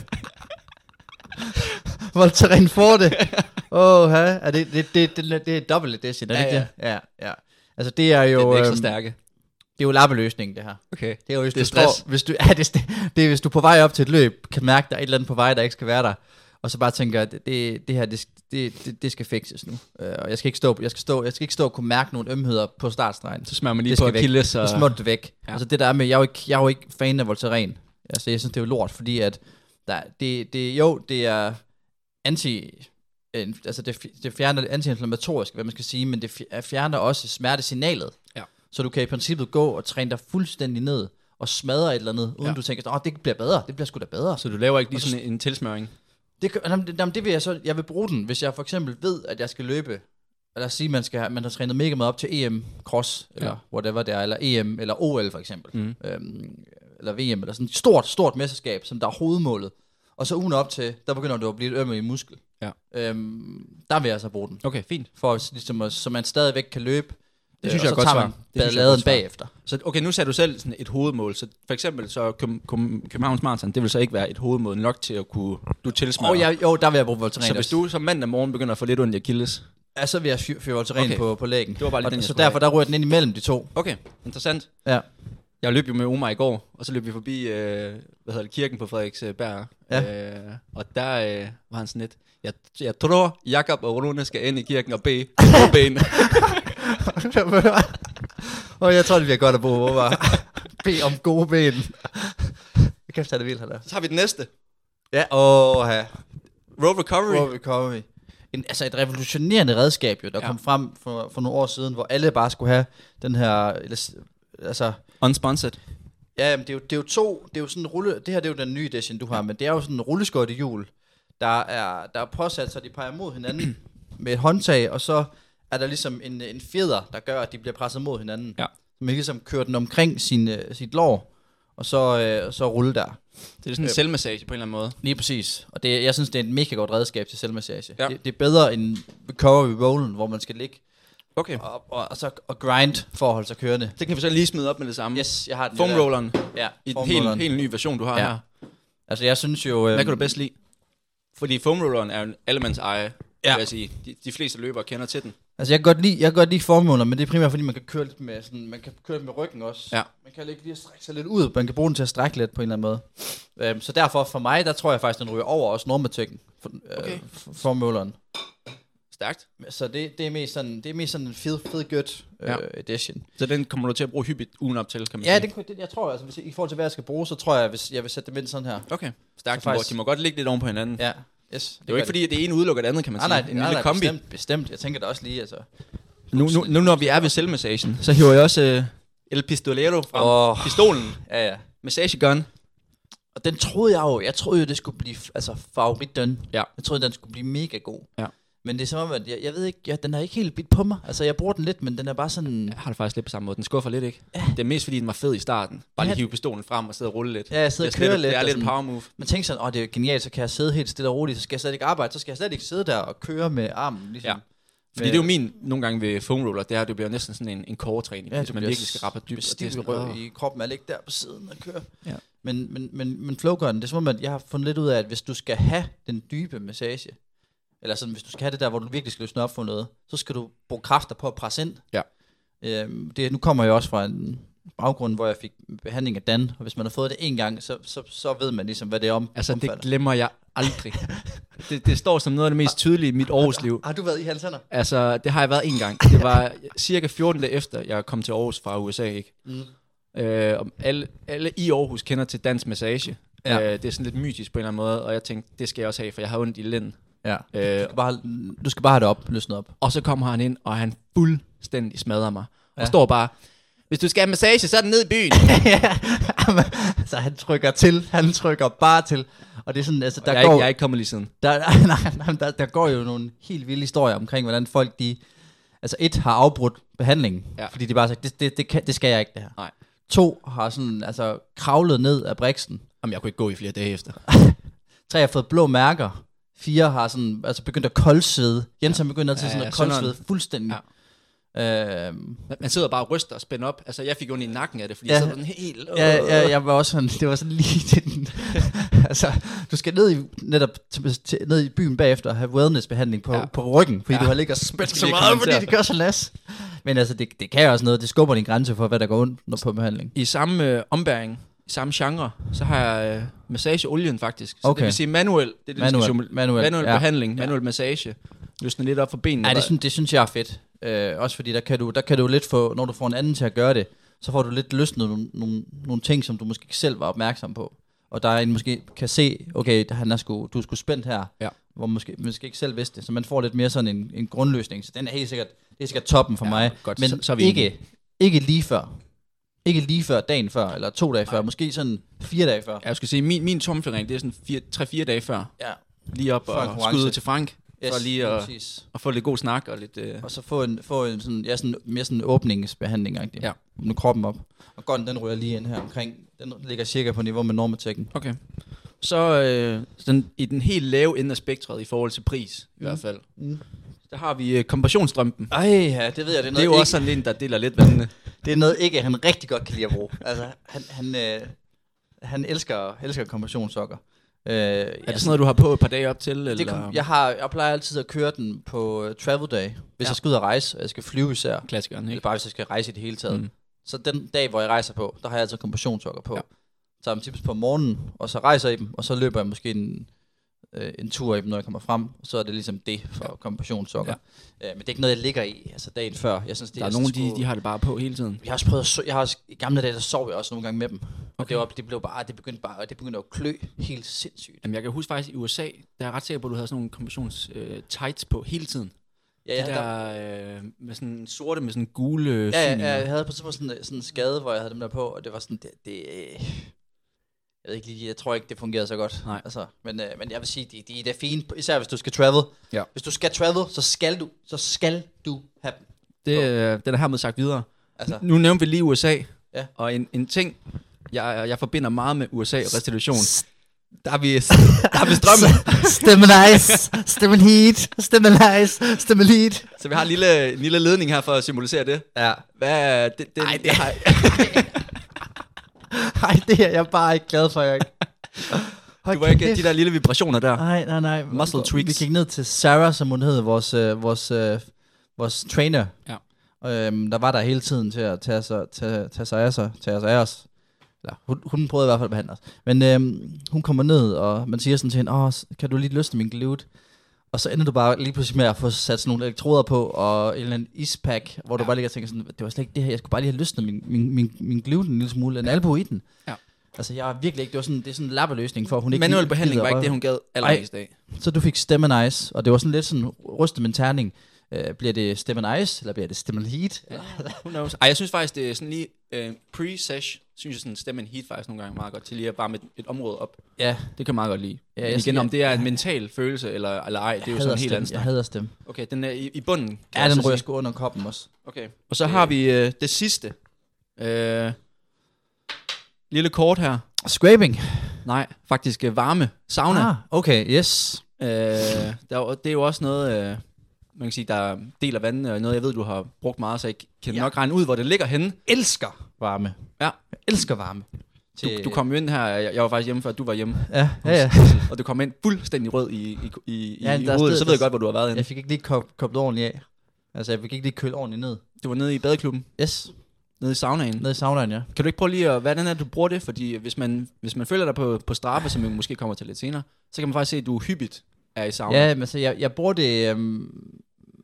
Speaker 5: Voltaren får det. Åh, ja, det, det, det, det, det er double edition, er det
Speaker 4: Ja,
Speaker 5: ikke det? Ja, ja. Altså det er jo...
Speaker 4: Det er den ekstra
Speaker 5: øhm,
Speaker 4: stærke.
Speaker 5: Det er jo lappeløsningen, det her.
Speaker 4: Okay.
Speaker 5: Det er jo, hvis
Speaker 4: Det er
Speaker 5: du står,
Speaker 4: stress.
Speaker 5: hvis du, ja, det, er st- det er, hvis du er på vej op til et løb, kan mærke, der er et eller andet på vej, der ikke skal være der, og så bare tænker, at det, det her, det, sk- det, det, det skal fikses nu. Øh, og jeg skal, ikke stå, jeg, skal stå, jeg skal ikke stå og kunne mærke nogle ømheder på startstregen.
Speaker 4: Så smager man lige
Speaker 5: Det
Speaker 4: på
Speaker 5: skal væk.
Speaker 4: Achilles. Og...
Speaker 5: Så små det væk.
Speaker 4: Ja.
Speaker 5: Ja. Altså det der er med, jeg er jo ikke, jeg er jo ikke fan af Voltaren. Altså jeg synes, det er jo lort, fordi at der, det, det, jo, det er anti... en- Altså det, fi- det fjerner det antiinflammatorisk, hvad man skal sige, men det fi- er- fjerner også smertesignalet.
Speaker 4: Ja.
Speaker 5: Så du kan i princippet gå og træne dig fuldstændig ned og smadre et eller andet, uden
Speaker 4: Ja.
Speaker 5: ja. du tænker, åh, det bliver bedre, det bliver sgu da bedre.
Speaker 4: Så du laver ikke lige sådan en tilsmøring.
Speaker 5: Det, kan- jamen, det, jamen, det vil jeg så, jeg vil bruge den, hvis jeg for eksempel ved, at jeg skal løbe, lad os sige, man, skal, have- man har trænet mega meget op til EM Cross, eller
Speaker 4: Ja.
Speaker 5: ja. whatever det er, eller EM, eller OL for eksempel, mm. øhm, eller VM, eller sådan et stort, stort mesterskab, som der er hovedmålet, og så ugen op til, der begynder du at blive et øm i muskel.
Speaker 4: Ja.
Speaker 5: Øhm, der vil jeg så bruge den,
Speaker 4: Okay, fint.
Speaker 5: for at, ligesom, at, så man stadigvæk kan løbe,
Speaker 4: Det
Speaker 5: øh,
Speaker 4: synes
Speaker 5: og
Speaker 4: jeg er
Speaker 5: så
Speaker 4: godt
Speaker 5: tager
Speaker 4: svar.
Speaker 5: man
Speaker 4: Det synes jeg er godt
Speaker 5: balladen
Speaker 4: svar.
Speaker 5: bagefter.
Speaker 4: Så okay, nu sagde du selv sådan et hovedmål. Så for eksempel så Køb- Køb- Københavns Marathon, det vil så ikke være et hovedmål nok til at kunne du tilsmøre.
Speaker 5: Og jeg, jo, der vil jeg bruge Voltaren
Speaker 4: så hvis du som mandag morgen begynder at få lidt ondt i Achilles.
Speaker 5: Ja, så vil jeg fyre fyr Voltaren
Speaker 4: Okay.
Speaker 5: okay. på, på lægen.
Speaker 4: Det var bare lige
Speaker 5: og,
Speaker 4: den, jeg
Speaker 5: så
Speaker 4: skulle
Speaker 5: derfor, der rører den ind imellem de to.
Speaker 4: Okay, interessant.
Speaker 5: Ja.
Speaker 4: Jeg løb jo med Omar i går, og så løb vi forbi, øh, hvad hedder det, kirken på Frederiksberg.
Speaker 5: Ja.
Speaker 4: Øh, og der øh, var han sådan lidt, jeg, jeg tror, Jakob og Rune skal ind i kirken og bede ben.
Speaker 5: og jeg tror, det bliver godt at bruge over. Be om gode ben. Jeg kan tage det vildt, han er.
Speaker 4: så har vi den næste.
Speaker 5: Ja, åh, ja.
Speaker 4: Road Recovery.
Speaker 5: Hvor recovery. En, altså et revolutionerende redskab, jo, der
Speaker 4: Ja.
Speaker 5: ja. kom frem for, for nogle år siden, hvor alle bare skulle have den her... eller s- Altså,
Speaker 4: Unsponsored.
Speaker 5: ja, jamen, det, er jo, det er jo to... Det, er jo sådan en rulle, det her det er jo den nye edition, du har, men det er jo sådan en rulleskøjte hjul, der er, der er påsat, så de peger mod hinanden med et håndtag, og så er der ligesom en, en fjeder, der gør, at de bliver presset mod hinanden.
Speaker 4: Ja.
Speaker 5: Så man kan ligesom kører den omkring sin, øh, sit lår, og så, øh, så rulle der.
Speaker 4: Det er sådan en selvmassage på en eller anden måde.
Speaker 5: Lige præcis. Og det, jeg synes, det er et mega godt redskab til selvmassage.
Speaker 4: Ja.
Speaker 5: Det, det, er bedre end recovery rollen, hvor man skal ligge
Speaker 4: Okay.
Speaker 5: og, og, og, så, og grind for at holde sig kørende.
Speaker 4: Det kan vi så lige smide op med det samme.
Speaker 5: Yes, jeg har den.
Speaker 4: Foam
Speaker 5: lige der.
Speaker 4: rolleren.
Speaker 5: Ja,
Speaker 4: I en
Speaker 5: foam
Speaker 4: helt,
Speaker 5: rolleren.
Speaker 4: helt ny version, du har ja.
Speaker 5: Ja.
Speaker 4: her.
Speaker 5: Altså, jeg synes jo... Øh,
Speaker 4: Hvad kan du bedst lide? Fordi foam rolleren er jo en allemands eje, ja. vil jeg sige. De, de fleste løbere kender til den.
Speaker 5: Altså, jeg kan godt lide, jeg kan godt lide formåler, men det er primært, fordi man kan køre lidt med, sådan, man kan køre lidt med ryggen også.
Speaker 4: Ja.
Speaker 5: Man kan ikke lige at strække sig lidt ud. Man kan bruge den til at strække lidt på en eller anden måde. Øhm, så derfor, for mig, der tror jeg faktisk, den ryger over også normatikken. For, øh,
Speaker 4: Okay.
Speaker 5: okay. formåleren.
Speaker 4: Stærkt.
Speaker 5: Så det, det, er mest sådan, det er mest sådan en fed, fed good øh,
Speaker 4: Ja.
Speaker 5: edition.
Speaker 4: Så den kommer du til at bruge hyppigt ugen op til, kan man
Speaker 5: Ja,
Speaker 4: sige.
Speaker 5: det, kunne- det, jeg tror, altså, hvis, i forhold til hvad jeg skal bruge, så tror jeg, hvis jeg vil sætte dem ind sådan her.
Speaker 4: Okay, stærkt.
Speaker 5: Så
Speaker 4: De må,
Speaker 5: faktisk-
Speaker 4: de må godt ligge lidt oven på hinanden. Ja,
Speaker 5: Ja, yes.
Speaker 4: det er jo ikke fordi, at det ene udelukker det andet, kan man
Speaker 5: Nej,
Speaker 4: sige.
Speaker 5: nej,
Speaker 4: en lille
Speaker 5: nej,
Speaker 4: kombi.
Speaker 5: Bestemt, bestemt. Jeg tænker da også lige, altså.
Speaker 4: Nu, nu, nu når vi er ved selvmassagen, så hiver jeg også øh, El Pistolero frem.
Speaker 5: Åh.
Speaker 4: Pistolen.
Speaker 5: Ja, ja.
Speaker 4: Massagegun.
Speaker 5: Og den troede jeg jo, jeg troede jo, det skulle blive altså, favoritten.
Speaker 4: Ja.
Speaker 5: Jeg troede, den skulle blive mega god.
Speaker 4: Ja.
Speaker 5: Men det er som om, at jeg, jeg ved ikke, jeg, den har ikke helt bidt på mig. Altså, jeg bruger den lidt, men den er bare sådan...
Speaker 4: Jeg har det faktisk lidt på samme måde. Den skuffer lidt, ikke? Ja. Det er mest fordi, den var fed i starten. Bare lige
Speaker 5: Ja.
Speaker 4: hive pistolen frem og sidde og rulle lidt.
Speaker 5: Ja, jeg sidder
Speaker 4: Det er
Speaker 5: og kører
Speaker 4: sådan Det
Speaker 5: lidt
Speaker 4: er
Speaker 5: og
Speaker 4: lidt en
Speaker 5: sådan-
Speaker 4: power move.
Speaker 5: Man tænker sådan, åh, det er genialt, så kan jeg sidde helt stille og roligt, så skal jeg slet ikke arbejde, så skal jeg slet ikke sidde der og køre med armen, ligesom.
Speaker 4: Ja. Fordi det er jo min, nogle gange ved foam roller, det er, at det bliver næsten sådan en, en core-træning, ja, hvis
Speaker 5: det
Speaker 4: man
Speaker 5: bliver
Speaker 4: virkelig skal rappe dybt. Og det er
Speaker 5: Stiv
Speaker 4: sådan,
Speaker 5: røv
Speaker 4: åh.
Speaker 5: i kroppen, man ligger der på siden og kører.
Speaker 4: Ja.
Speaker 5: Men, men, men, men flowgun, det er som om, at jeg har fundet lidt ud af, at hvis du skal have den dybe massage, eller sådan, hvis du skal have det der, hvor du virkelig skal løsne op for noget, så skal du bruge kræfter på at presse ind.
Speaker 4: Ja.
Speaker 5: Øhm, det, nu kommer jeg også fra en baggrund, hvor jeg fik behandling af Dan, og hvis man har fået det en gang, så, så, så ved man ligesom, hvad det er om.
Speaker 4: Altså, det
Speaker 5: omfatter.
Speaker 4: glemmer jeg aldrig. det, det står som noget af det mest tydelige i mit Aarhus-liv.
Speaker 5: Har du været i hans hænder?
Speaker 4: Altså, det har jeg været en gang. Det var cirka 14 dage efter, jeg kom til Aarhus fra USA, ikke? Mm. Øh, og alle, alle i Aarhus kender til dansk massage.
Speaker 5: Ja.
Speaker 4: Ja. Øh, det er sådan lidt mytisk på en eller anden måde, og jeg tænkte, det skal jeg også have, for jeg har ondt i lænden.
Speaker 5: Ja.
Speaker 4: Øh,
Speaker 5: Du skal, bare, du skal bare have det op, løsne op.
Speaker 4: og så kommer han ind, og han fuldstændig smadrer mig. Ja.
Speaker 5: Ja.
Speaker 4: Og står bare, hvis du skal have massage, så er den ned i byen.
Speaker 5: så han trykker til, han trykker bare til. Og det er sådan, altså, der,
Speaker 4: Der jeg,
Speaker 5: går,
Speaker 4: er ikke, jeg er ikke kommet lige siden.
Speaker 5: Der, nej, nej, der, der går jo nogle helt vilde historier omkring, hvordan folk de... Altså et, har afbrudt behandlingen,
Speaker 4: Ja.
Speaker 5: ja. fordi de bare sagde, det, det, det, kan, det skal jeg ikke, det her.
Speaker 4: Nej.
Speaker 5: To har sådan, altså, kravlet ned af briksen.
Speaker 4: Jamen, jeg kunne ikke gå i flere dage efter.
Speaker 5: Tre har fået blå mærker. Fire har sådan, altså begyndt at koldsvede. Jens har begyndt altid
Speaker 4: Ja,
Speaker 5: sådan
Speaker 4: ja,
Speaker 5: at
Speaker 4: sådan noget.
Speaker 5: koldsvede fuldstændig. Ja. Øhm,
Speaker 4: Man- Man sidder bare og ryster og spænder op. Altså, jeg fik ondt i nakken af det, fordi
Speaker 5: Ja.
Speaker 4: jeg sad sådan helt... øh,
Speaker 5: Ja, ja, jeg var også sådan, det var sådan lige til den. altså, du skal ned i, netop til, til, ned i byen bagefter og have wellnessbehandling på,
Speaker 4: Ja.
Speaker 5: ja. på ryggen, fordi
Speaker 4: Ja.
Speaker 5: ja. du har ligget og spændt
Speaker 4: skal
Speaker 5: så
Speaker 4: lige
Speaker 5: meget, fordi
Speaker 4: kommentere.
Speaker 5: det gør så las. Men altså, det, det kan jo også noget, det skubber din grænse for, hvad der går ondt når på behandling.
Speaker 4: I samme øh, ombæring, i samme genre, så har jeg øh, massageolien faktisk. Så
Speaker 5: Okay.
Speaker 4: det vil sige manuel. Det er det,
Speaker 5: Manuel,
Speaker 4: vi skal sige.
Speaker 5: manuel,
Speaker 4: manuel
Speaker 5: ja.
Speaker 4: behandling, manuel massage. Løsner lidt op for benene.
Speaker 5: Ja, det, synes, det synes jeg er fedt. Øh, også fordi der kan, du, der kan du lidt få, når du får en anden til at gøre det, så får du lidt løsnet nogle, nogle, nogle ting, som du måske ikke selv var opmærksom på. Og der er en måske kan se, okay, han er sgu, du er sgu spændt her,
Speaker 4: Ja.
Speaker 5: hvor man måske, måske ikke selv vidste det. Så man får lidt mere sådan en, en grundløsning. Så den er helt sikkert, det er sikkert toppen for
Speaker 4: Ja,
Speaker 5: ja, mig.
Speaker 4: godt.
Speaker 5: Men
Speaker 4: Så- så er vi
Speaker 5: ikke, ikke lige før. Ikke lige før dagen før, eller to dage før, måske sådan fire dage før.
Speaker 4: Ja, Jeg skal sige, min, min tommelfingering, det er sådan 3-4 dage før.
Speaker 5: Ja,
Speaker 4: Lige op
Speaker 5: Før
Speaker 4: og
Speaker 5: konkurrence.
Speaker 4: skyde til Frank. Yes, for lige at,
Speaker 5: præcis.
Speaker 4: at få lidt god snak og lidt... Øh,
Speaker 5: Og så få en, få en sådan, ja, sådan, mere sådan en åbningsbehandling.
Speaker 4: Ja.
Speaker 5: Nu kroppen op. Og godt, den ryger lige ind her omkring. Den ligger cirka på niveau med normatekken.
Speaker 4: Okay. Så øh, den, i den helt lave ende af spektret i forhold til pris, i hvert fald.
Speaker 5: Mm.
Speaker 4: Der har vi øh, kompressionsstrømpen.
Speaker 5: Ej, ja, det ved jeg. Det er, noget,
Speaker 4: Det er jo
Speaker 5: ikke,
Speaker 4: også sådan en, der deler lidt vandene.
Speaker 5: det er noget ikke, han rigtig godt kan lide at bruge. altså, han, han, øh, han elsker, elsker kompressionssokker. Øh, er
Speaker 4: Er det sådan noget, du har på et par dage op til? Eller?
Speaker 5: det kom, jeg, har, jeg plejer altid at køre den på øh, travel day, hvis
Speaker 4: Ja.
Speaker 5: ja. jeg skal ud og rejse, og jeg skal flyve især.
Speaker 4: Klassikeren,
Speaker 5: Eller
Speaker 4: ikke?
Speaker 5: bare hvis jeg skal rejse i det hele taget.
Speaker 4: Mm.
Speaker 5: Mm. Så den dag, hvor jeg rejser på, der har jeg altid kompressionssokker på.
Speaker 4: Ja.
Speaker 5: Ja. Tager dem typisk på morgenen, og så rejser jeg i dem, og så løber jeg måske en, øh, en tur i dem, når jeg kommer frem. Så er det ligesom det for ja. kompressionssokker. Ja. Øh, men det er ikke noget, jeg ligger i altså dagen før. Jeg synes, det
Speaker 4: Der er
Speaker 5: jeg
Speaker 4: nogen,
Speaker 5: synes
Speaker 4: de,
Speaker 5: sgu-
Speaker 4: de har det bare på hele tiden.
Speaker 5: Jeg har også prøvet at so- jeg har også, I gamle dage, der sov jeg også nogle gange med dem. Okay. Og det, var, det blev bare, det begyndte bare, det begyndte at klø helt sindssygt.
Speaker 4: Jamen, jeg kan huske faktisk i USA, der er jeg ret sikker på, at du havde sådan nogle kompressions øh, tights på hele tiden.
Speaker 5: Ja,
Speaker 4: Ja,
Speaker 5: jeg,
Speaker 4: de
Speaker 5: havde-
Speaker 4: der øh, med sådan sorte, med sådan gule øh,
Speaker 5: Ja, ja,
Speaker 4: syninger.
Speaker 5: ja, jeg havde på et tidspunkt sådan, øh, sådan en skade, hvor jeg havde dem der på, og det var sådan, det, det øh, jeg ved ikke lige, jeg tror ikke, det fungerede så godt.
Speaker 4: Nej.
Speaker 5: Altså, men, øh, men jeg vil sige, de, de, de er fine, især hvis du skal travel.
Speaker 4: Ja.
Speaker 5: Hvis du skal travel, så skal du, så skal du have dem.
Speaker 4: Det, øh, den er hermed sagt videre.
Speaker 5: Altså.
Speaker 4: Nu nævnte vi lige USA,
Speaker 5: Ja.
Speaker 4: og en, en ting, jeg, jeg forbinder meget med USA og restitution.
Speaker 5: Der er vi,
Speaker 4: Der er vi strømmen.
Speaker 5: stemme nice, stemme heat, stemme nice, stemme lead.
Speaker 4: Så vi har en lille, en lille ledning her for at symbolisere det.
Speaker 5: Ja.
Speaker 4: Hvad er det? det,
Speaker 5: Ej, det-
Speaker 4: jeg har,
Speaker 5: Ej, det er jeg bare ikke glad for, jeg
Speaker 4: du var ikke de der lille vibrationer der.
Speaker 5: Nej, nej, nej.
Speaker 4: Muscle
Speaker 5: Vi-
Speaker 4: tweaks.
Speaker 5: Vi gik ned til Sarah, som hun hed, vores, øh, vores, øh, vores trainer.
Speaker 4: Ja.
Speaker 5: Øhm, der var der hele tiden til at tage, sig, tage, tage sig af sig, tage os af os. Eller, hun, hun prøvede i hvert fald at behandle os. Men øhm, hun kommer ned, og man siger sådan til hende, Åh, s- kan du lige løsne min glute? Og så ender du bare lige pludselig med at få sat sådan nogle elektroder på, og en eller anden ispack, hvor du bare ligger og tænker sådan, det var slet ikke det her, jeg skulle bare lige have løsnet min, min, min, min gluten en lille smule, en albu i den.
Speaker 4: Ja.
Speaker 5: Altså jeg er virkelig ikke, det var sådan, det er sådan en lappeløsning for, at hun ikke...
Speaker 4: Manuel
Speaker 5: gider-
Speaker 4: behandling
Speaker 5: gider
Speaker 4: var ikke
Speaker 5: at-
Speaker 4: det, hun gad allermest af.
Speaker 5: Så du fik stemmen ice, og det var sådan lidt sådan, ryste med en terning. Øh, bliver det stemmen ice, eller bliver det stemmen heat? Ja.
Speaker 4: Who knows? Ej, jeg synes faktisk, det er sådan lige øh, pre-sesh, synes jeg sådan, stemmen heat faktisk nogle gange meget godt til lige at varme et, et område op.
Speaker 5: ja.
Speaker 4: Det kan jeg meget godt lide.
Speaker 5: Ja,
Speaker 4: Ja,
Speaker 5: jeg
Speaker 4: jeg igen,
Speaker 5: siger-
Speaker 4: om det er en mental følelse eller, eller ej, det er jo sådan en helt anden
Speaker 5: Jeg
Speaker 4: snak.
Speaker 5: hader stemme.
Speaker 4: Okay, den er i, i bunden. kan
Speaker 5: Ja,
Speaker 4: jeg
Speaker 5: den
Speaker 4: så
Speaker 5: rører
Speaker 4: sige.
Speaker 5: sgu under koppen også.
Speaker 4: Okay, og så har vi øh, det sidste. Øh, lille kort her.
Speaker 5: Scraping.
Speaker 4: Nej, faktisk øh, varme. Sauna.
Speaker 5: Ah, okay, yes.
Speaker 4: Øh, der, er jo- det er jo også noget, øh, man kan sige, der er del af vandet, og noget, jeg ved, du har brugt meget, så jeg kan ja. nok regne ud, hvor det ligger henne.
Speaker 5: Elsker varme.
Speaker 4: Ja.
Speaker 5: Jeg elsker varme.
Speaker 4: Du, du kom jo ind her, jeg, jeg var faktisk hjemme, før du var hjemme,
Speaker 5: Ja, ja, ja.
Speaker 4: og du kom ind fuldstændig rød i, i, i,
Speaker 5: Ja,
Speaker 4: ja, i
Speaker 5: der er
Speaker 4: hovedet, så
Speaker 5: sted-
Speaker 4: ved jeg
Speaker 5: der-
Speaker 4: godt, hvor du har været henne.
Speaker 5: Jeg fik ikke lige kop, kobt ordentligt af. Altså, jeg fik ikke lige kølet ordentligt ned.
Speaker 4: Du var nede i badeklubben,
Speaker 5: Yes,
Speaker 4: nede i saunaen.
Speaker 5: ned i saunaen, ja.
Speaker 4: Kan du ikke prøve lige at, hvordan er det, du bruger det? Fordi hvis man, hvis man følger dig på, på straffe, som vi måske kommer til lidt senere, så kan man faktisk se, at du hyppigt er i sauna.
Speaker 5: Ja, men altså, jeg, jeg bruger det... Øhm,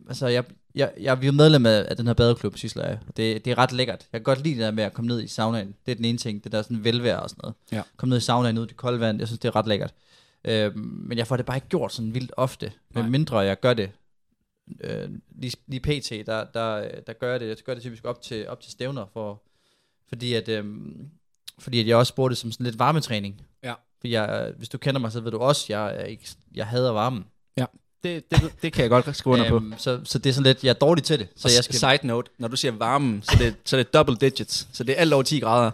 Speaker 5: altså, jeg, jeg, jeg, vi er jo medlem af, af den her badeklub, Sisler, jeg. Det, det er ret lækkert. Jeg kan godt lide det der med at komme ned i saunaen. Det er den ene ting, det der sådan velvære og sådan noget.
Speaker 4: Ja.
Speaker 5: Komme ned i saunaen, ud i det kolde vand, jeg synes, det er ret lækkert. Øhm, men jeg får det bare ikke gjort sådan vildt ofte. Men
Speaker 4: Nej.
Speaker 5: mindre jeg gør det øh, lige, lige pt, der, der, øh, der gør jeg det. Jeg gør det typisk op til, op til stævner, for, fordi, at, øh, fordi at jeg også bruger det som sådan lidt varmetræning.
Speaker 4: Ja.
Speaker 5: For jeg, øh, hvis du kender mig, så ved du også, jeg, er ikke, jeg hader varmen.
Speaker 4: Det, det, det kan jeg godt skrive under på.
Speaker 5: Øhm, så, så det er sådan lidt, jeg er dårlig til det. Så jeg skal,
Speaker 4: Side note, når du siger varmen, så det, så det er double digits, så det er alt over 10 grader.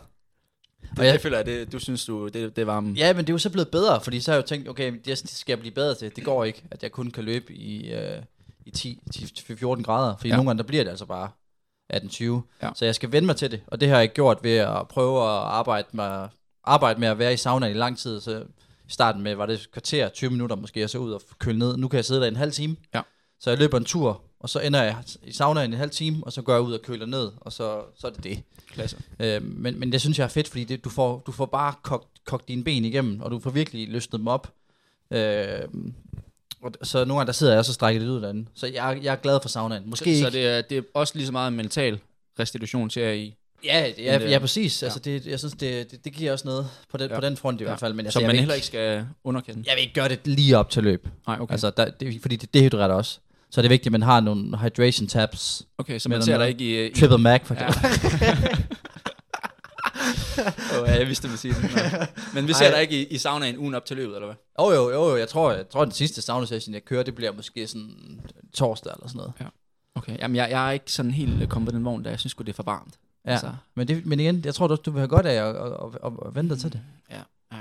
Speaker 4: Det,
Speaker 5: Og jeg-
Speaker 4: det føler jeg, det, du synes, du, det, det er varmen.
Speaker 5: ja, men det er jo så blevet bedre, fordi så har jeg jo tænkt, okay, men det skal jeg blive bedre til. Det går ikke, at jeg kun kan løbe i, øh, i 10, 10-14 grader, fordi ja.
Speaker 4: Ja.
Speaker 5: nogle gange, der bliver det altså bare 18-20. Ja.
Speaker 4: Ja.
Speaker 5: Så jeg skal vende mig til det, og det har jeg gjort ved at prøve at arbejde med, arbejde med at være i saunaen i lang tid. Så i starten med, var det et kvarter, 20 minutter måske, jeg så ud og køle ned. Nu kan jeg sidde der i en halv time.
Speaker 4: Ja.
Speaker 5: Så jeg løber en tur, og så ender jeg i saunaen i en halv time, og så går jeg ud og køler ned, og så, så er det det.
Speaker 4: Klasse.
Speaker 5: Øh, men, men det synes jeg er fedt, fordi det, du, får, du får bare kogt, kogt dine ben igennem, og du får virkelig løsnet dem op. Øh, og d- så nogle gange, der sidder jeg også og strækker lidt ud derinde. Så jeg, jeg er glad for saunaen. Måske
Speaker 4: Så,
Speaker 5: ikke.
Speaker 4: så det, er, det er også lige så meget en mental restitution til jer i.
Speaker 5: ja, ja,
Speaker 4: Men,
Speaker 5: ja,
Speaker 4: øh,
Speaker 5: ja, præcis. Altså, det, jeg synes, det, det, det giver også noget på den, ja.
Speaker 4: Ja.
Speaker 5: på den front i
Speaker 4: Ja.
Speaker 5: hvert fald. Men
Speaker 4: Altså,
Speaker 5: altså,
Speaker 4: som
Speaker 5: jeg
Speaker 4: man
Speaker 5: vil
Speaker 4: heller ikke skal underkende.
Speaker 5: Jeg vil ikke gøre det lige op til løb. Okay.
Speaker 4: Nej, okay. Altså,
Speaker 5: Altså, der, det, fordi det dehydrerer også. Så er det vigtigt, at man har nogle hydration tabs.
Speaker 4: okay, så
Speaker 5: Men
Speaker 4: man
Speaker 5: der
Speaker 4: ser
Speaker 5: noget-
Speaker 4: dig ikke i... i
Speaker 5: Triple Mac, for
Speaker 4: Ja.
Speaker 5: eksempel.
Speaker 4: Åh, ja, jeg vidste, du ville sige det. Nå. Men vi
Speaker 5: Ej.
Speaker 4: ser dig ikke i, i saunaen ugen op til løbet, eller hvad?
Speaker 5: Jo, jo, jo, jo, jeg tror, jeg tror den sidste sauna session, jeg kører, det bliver måske sådan torsdag eller sådan noget.
Speaker 4: Okay, jamen jeg, jeg er ikke sådan helt øh, kommet på den vogn, der jeg synes sgu, det er for varmt.
Speaker 5: Ja. Altså. Men, det, men igen, jeg tror også, du vil have godt af at, at, at, at vente dig til det.
Speaker 4: øh,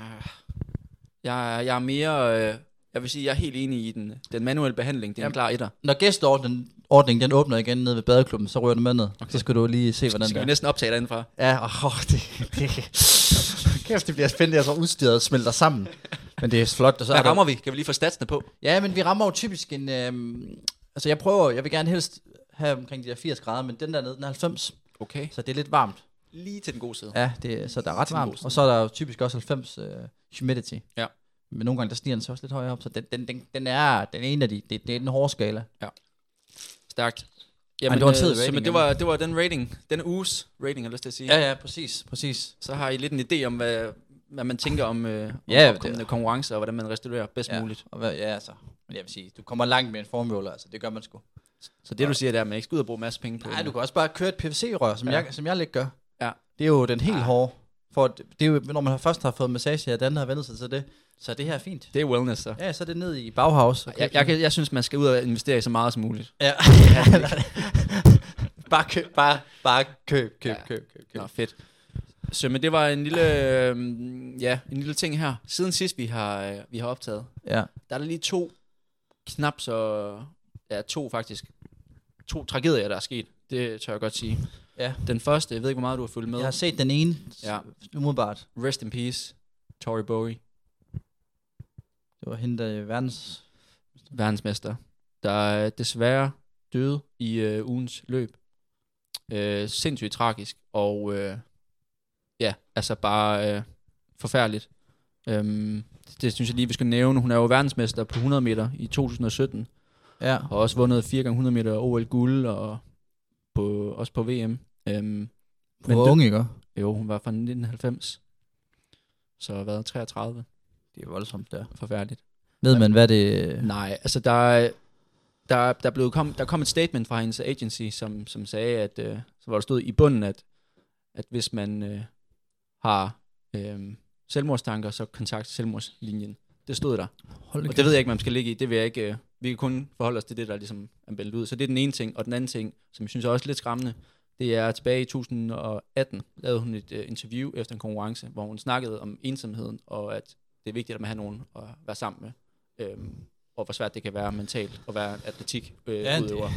Speaker 4: jeg, jeg er mere... Øh, jeg vil sige, jeg er helt enig i den, den manuelle behandling. Det er en
Speaker 5: Jamen,
Speaker 4: klar etter.
Speaker 5: Når gæsteordningen den åbner igen nede ved badeklubben, så rører du med ned. Okay. Så skal du lige se, hvordan
Speaker 4: Så skal vi
Speaker 5: det er.
Speaker 4: næsten optage derindefra.
Speaker 5: Ja, åh, oh, det, det, kæft, det bliver spændende. Jeg tror, udstyret smelter sammen. Men det er flot. Og så er
Speaker 4: Hvad
Speaker 5: der-
Speaker 4: rammer vi? Kan vi lige få statsene på?
Speaker 5: Ja, men vi rammer jo typisk en... Øhm, altså, jeg prøver, jeg vil gerne helst have omkring de her 80 grader, men den der nede, den er 90,
Speaker 4: Okay.
Speaker 5: så det er lidt varmt.
Speaker 4: Lige til den gode side.
Speaker 5: Ja, det, så der er ret
Speaker 4: Til den
Speaker 5: varmt.
Speaker 4: gode
Speaker 5: Og så er der jo typisk også 90 uh, humidity.
Speaker 4: Ja.
Speaker 5: Men nogle gange, der stiger den så også lidt højere op, så den, den, den, den er den ene af de, det, det er den hårde skala.
Speaker 4: Stærkt.
Speaker 5: det var en fed
Speaker 4: øh, så,
Speaker 5: rating,
Speaker 4: men det, var, det var den rating. Den uges rating, har jeg lyst til at sige. Ja.
Speaker 5: Ja, ja, præcis, præcis.
Speaker 4: Så har I lidt en idé om, hvad, hvad man tænker om, øh, om
Speaker 5: Ja, det-
Speaker 4: ja, opkommende konkurrencer, og hvordan man restituerer bedst
Speaker 5: Ja.
Speaker 4: ja. muligt.
Speaker 5: Og hvad, ja, altså, men jeg vil sige, du kommer langt med en formroller, altså, det gør man sgu.
Speaker 4: Så det, du siger, det er, at man ikke skal ud og bruge en masse penge på
Speaker 5: Nej, du kan også bare køre et PVC-rør, som, ja.
Speaker 4: Ja.
Speaker 5: jeg, som jeg lidt gør.
Speaker 4: Ja.
Speaker 5: Det er jo den helt hårde. For at- det er jo, når man har først har fået massage, og den har vendt sig til det, så er det her fint.
Speaker 4: Det er wellness, så.
Speaker 5: Ja, så er det ned i Bauhaus. og
Speaker 4: Jeg,
Speaker 5: købe
Speaker 4: jeg,
Speaker 5: sådan-
Speaker 4: kan, jeg synes, man skal ud og investere i så meget som muligt.
Speaker 5: Ja. bare køb, bare, bare køb, køb,
Speaker 4: Ja.
Speaker 5: køb, køb, køb.
Speaker 4: Nå, fedt. Så men det var en lille, øh, ja, en lille ting her. Siden sidst, vi har, øh, vi har optaget,
Speaker 5: Ja.
Speaker 4: der er der lige to knap så... Ja, to faktisk. To tragedier, der er sket. Det tør jeg godt sige.
Speaker 5: Ja.
Speaker 4: Den første, jeg ved ikke, hvor meget du har fulgt med.
Speaker 5: Jeg har set den ene ja.
Speaker 4: Ja.
Speaker 5: umiddelbart.
Speaker 4: Rest in peace, Tory Bowie,
Speaker 5: Det var hende, der i verdens...
Speaker 4: verdensmester, der øh, desværre døde i øh, ugens løb. Øh, sindssygt tragisk, og øh, ja, altså bare øh, forfærdeligt. Øhm, det synes jeg lige, vi skal nævne. Hun er jo verdensmester på 100 meter i 2017.
Speaker 5: Ja.
Speaker 4: Har også vundet 4x100 meter OL guld, og på, også på VM. Øhm,
Speaker 5: Hun var
Speaker 4: du-
Speaker 5: ung, ikke?
Speaker 4: jo, hun var fra 1990. Så hvad, 33?
Speaker 5: Det er voldsomt, der.
Speaker 4: Forfærdeligt.
Speaker 5: Ved man, hvad det...
Speaker 4: Nej, altså der, er- der, der, blev kom, der kom et statement fra hendes agency, som, som sagde, at øh, så hvor der stod i bunden, at, at hvis man øh, har øh, selvmordstanker, så kontakt selvmordslinjen. Det stod der.
Speaker 5: Hold
Speaker 4: Og det ved jeg ikke, man skal ligge i. Det vil jeg ikke. Øh, vi kan kun forholde os til det, der ligesom er meldt ud. Så det er den ene ting. Og den anden ting, som jeg synes er også lidt skræmmende, det er at tilbage i 2018, lavede hun et øh, interview efter en konkurrence, hvor hun snakkede om ensomheden, og at det er vigtigt at man har nogen at være sammen med. Øhm, og hvor svært det kan være mentalt at være atletik øh,
Speaker 5: Ja,
Speaker 4: ja,
Speaker 5: det-
Speaker 4: udøver.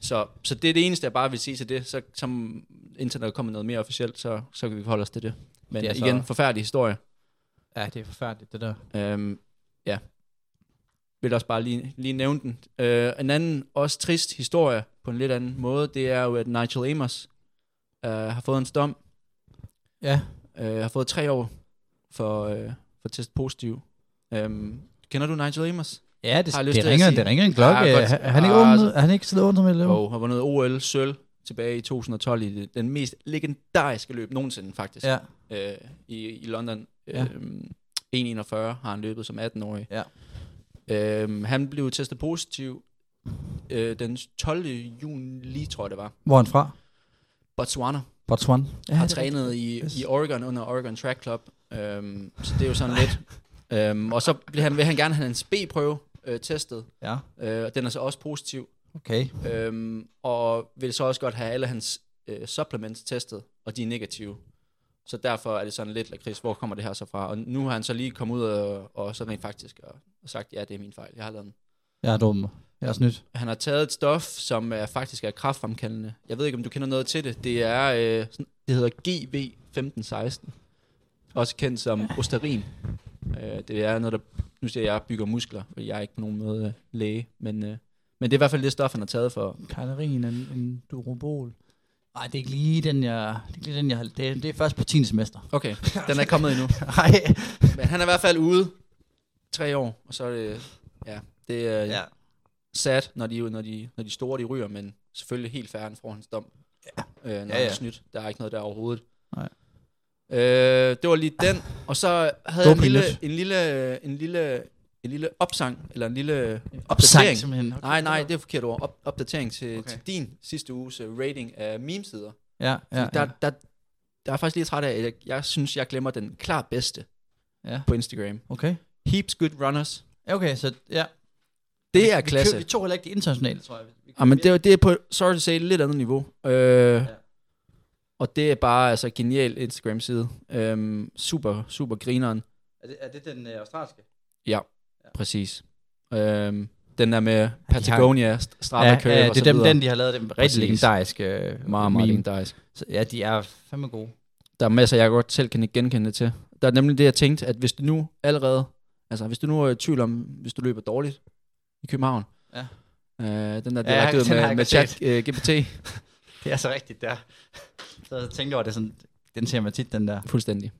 Speaker 4: Så, så det er det eneste, jeg bare vil sige til det. Så som indtil der kommer noget mere officielt, så, så kan vi forholde os til det. Men
Speaker 5: Det
Speaker 4: det
Speaker 5: er så-
Speaker 4: igen, forfærdelig historie.
Speaker 5: Ja, det er forfærdeligt, det der.
Speaker 4: Øhm, ja. Vil også bare lige, lige nævne den. Øh, en anden, også trist historie på en lidt anden måde, det er jo, at Nigel Amos øh, har fået en dom.
Speaker 5: Ja.
Speaker 4: Øh, har fået tre år for, øh, for test positiv. Øhm, kender du Nigel Amos?
Speaker 5: Ja, det,
Speaker 4: Har jeg lyst
Speaker 5: det,
Speaker 4: til at
Speaker 5: ringer,
Speaker 4: sige-
Speaker 5: det ringer en klokke.
Speaker 4: Ja,
Speaker 5: Ja,
Speaker 4: godt.
Speaker 5: godt. Han, er ikke
Speaker 4: Ah,
Speaker 5: ung,
Speaker 4: altså.
Speaker 5: nu? han er ikke sådan under med
Speaker 4: Jo, har vundet OL sølv tilbage i 2012 i det- den mest legendariske løb nogensinde, faktisk.
Speaker 5: Ja.
Speaker 4: øh, i, i London.
Speaker 5: Ja.
Speaker 4: Ja. Øhm, 1.41 har han løbet som 18-årig.
Speaker 5: Ja.
Speaker 4: Øhm, han blev testet positiv øh, den 12. juni, tror jeg det var.
Speaker 5: Hvor er han fra?
Speaker 4: Botswana
Speaker 5: Botswana. Ja,
Speaker 4: har
Speaker 5: det er
Speaker 4: trænet i,
Speaker 5: Yes.
Speaker 4: i Oregon under Oregon Track Club. Øhm, så det er jo sådan lidt. Øhm, og så vil han, vil han gerne have hans B-prøve øh, testet,
Speaker 5: rigtigt. Ja,
Speaker 4: øh, og den er så også positiv.
Speaker 5: okay.
Speaker 4: Øhm, og vil så også godt have alle hans øh, supplements testet, og de er negative. Så derfor er det sådan lidt lakrids, hvor kommer det her så fra? Og nu har han så lige kommet ud og, og så rent faktisk og, og sagt, ja, det er min fejl, jeg har lavet den.
Speaker 5: Jeg er dum. Jeg er snydt.
Speaker 4: Han har taget et stof, som er, faktisk er kraftfremkaldende. Jeg ved ikke, om du kender noget til det. Det er øh, sådan, det hedder GV1516, også kendt som osterin. Øh, det er noget, der, nu siger jeg, jeg bygger muskler, fordi jeg er ikke på nogen måde øh, læge, men, øh, men det er i hvert fald det stof, han har taget for,
Speaker 5: Kajlerin en, en durobol. Nej, det er ikke lige den, jeg... Det er, ikke lige den, jeg, har- det, er- det er først på 10. semester.
Speaker 4: Okay, den er ikke kommet endnu.
Speaker 5: Nej.
Speaker 4: Men han er i hvert fald ude tre år, og så er det, ja, det er ja.
Speaker 5: ja.
Speaker 4: sad, når de, når, de, når de store de ryger, men selvfølgelig helt færre, han får hans dom. Ja. Øh, når ja, ja.
Speaker 5: ja.
Speaker 4: han er snydt. Der er ikke noget der overhovedet.
Speaker 5: Nej.
Speaker 4: Øh, det var lige den, og så havde
Speaker 5: var
Speaker 4: jeg en lille,
Speaker 5: pinligt.
Speaker 4: en lille, en lille, en lille opsang, eller en lille
Speaker 5: Opsang,
Speaker 4: opdatering.
Speaker 5: simpelthen. Okay.
Speaker 4: Nej, nej, det er forkert ord. Op, opdatering til,
Speaker 5: Okay.
Speaker 4: okay. til din sidste uges øh, rating af memesider.
Speaker 5: Ja, ja,
Speaker 4: Ja,
Speaker 5: ja.
Speaker 4: der, ja. Der, der er faktisk lige træt af, at jeg, jeg synes, jeg glemmer den klart bedste
Speaker 5: Ja.
Speaker 4: på Instagram.
Speaker 5: Okay.
Speaker 4: Heaps Good Runners.
Speaker 5: Ja, Okay, så ja.
Speaker 4: Det er
Speaker 5: Vi, kø- vi
Speaker 4: klasse.
Speaker 5: tog heller ikke det internationale, tror jeg. Vi
Speaker 4: Ja, men det, er- det er på, sorry to say, et lidt andet niveau. Øh, ja. Og det er bare altså genial Instagram-side. Øhm, super, super grineren.
Speaker 5: er, det, er det den øh, australske?
Speaker 4: Ja, præcis. Øhm, den der med Patagonia, St- Strava
Speaker 5: ja,
Speaker 4: Curve
Speaker 5: ja,
Speaker 4: og
Speaker 5: det
Speaker 4: så
Speaker 5: er dem,
Speaker 4: videre.
Speaker 5: den, de har lavet. Den rigtig
Speaker 4: Præcis.
Speaker 5: legendariske øh,
Speaker 4: Meget,
Speaker 5: meme.
Speaker 4: meget legendarisk.
Speaker 5: Så, ja, de er fandme gode.
Speaker 4: Der er masser, jeg godt selv kan ikke genkende det til. Der er nemlig det, jeg tænkte, at hvis du nu allerede, altså hvis du nu er i tvivl om, hvis du løber dårligt i København,
Speaker 5: Ja.
Speaker 4: øh, den der
Speaker 5: jeg-
Speaker 4: direkte
Speaker 5: den har
Speaker 4: ja, med,
Speaker 5: jeg
Speaker 4: med
Speaker 5: godt set.
Speaker 4: chat øh, GPT,
Speaker 5: Det er så rigtigt, der. så jeg tænkte over det sådan, den ser man tit, den der.
Speaker 4: Fuldstændig.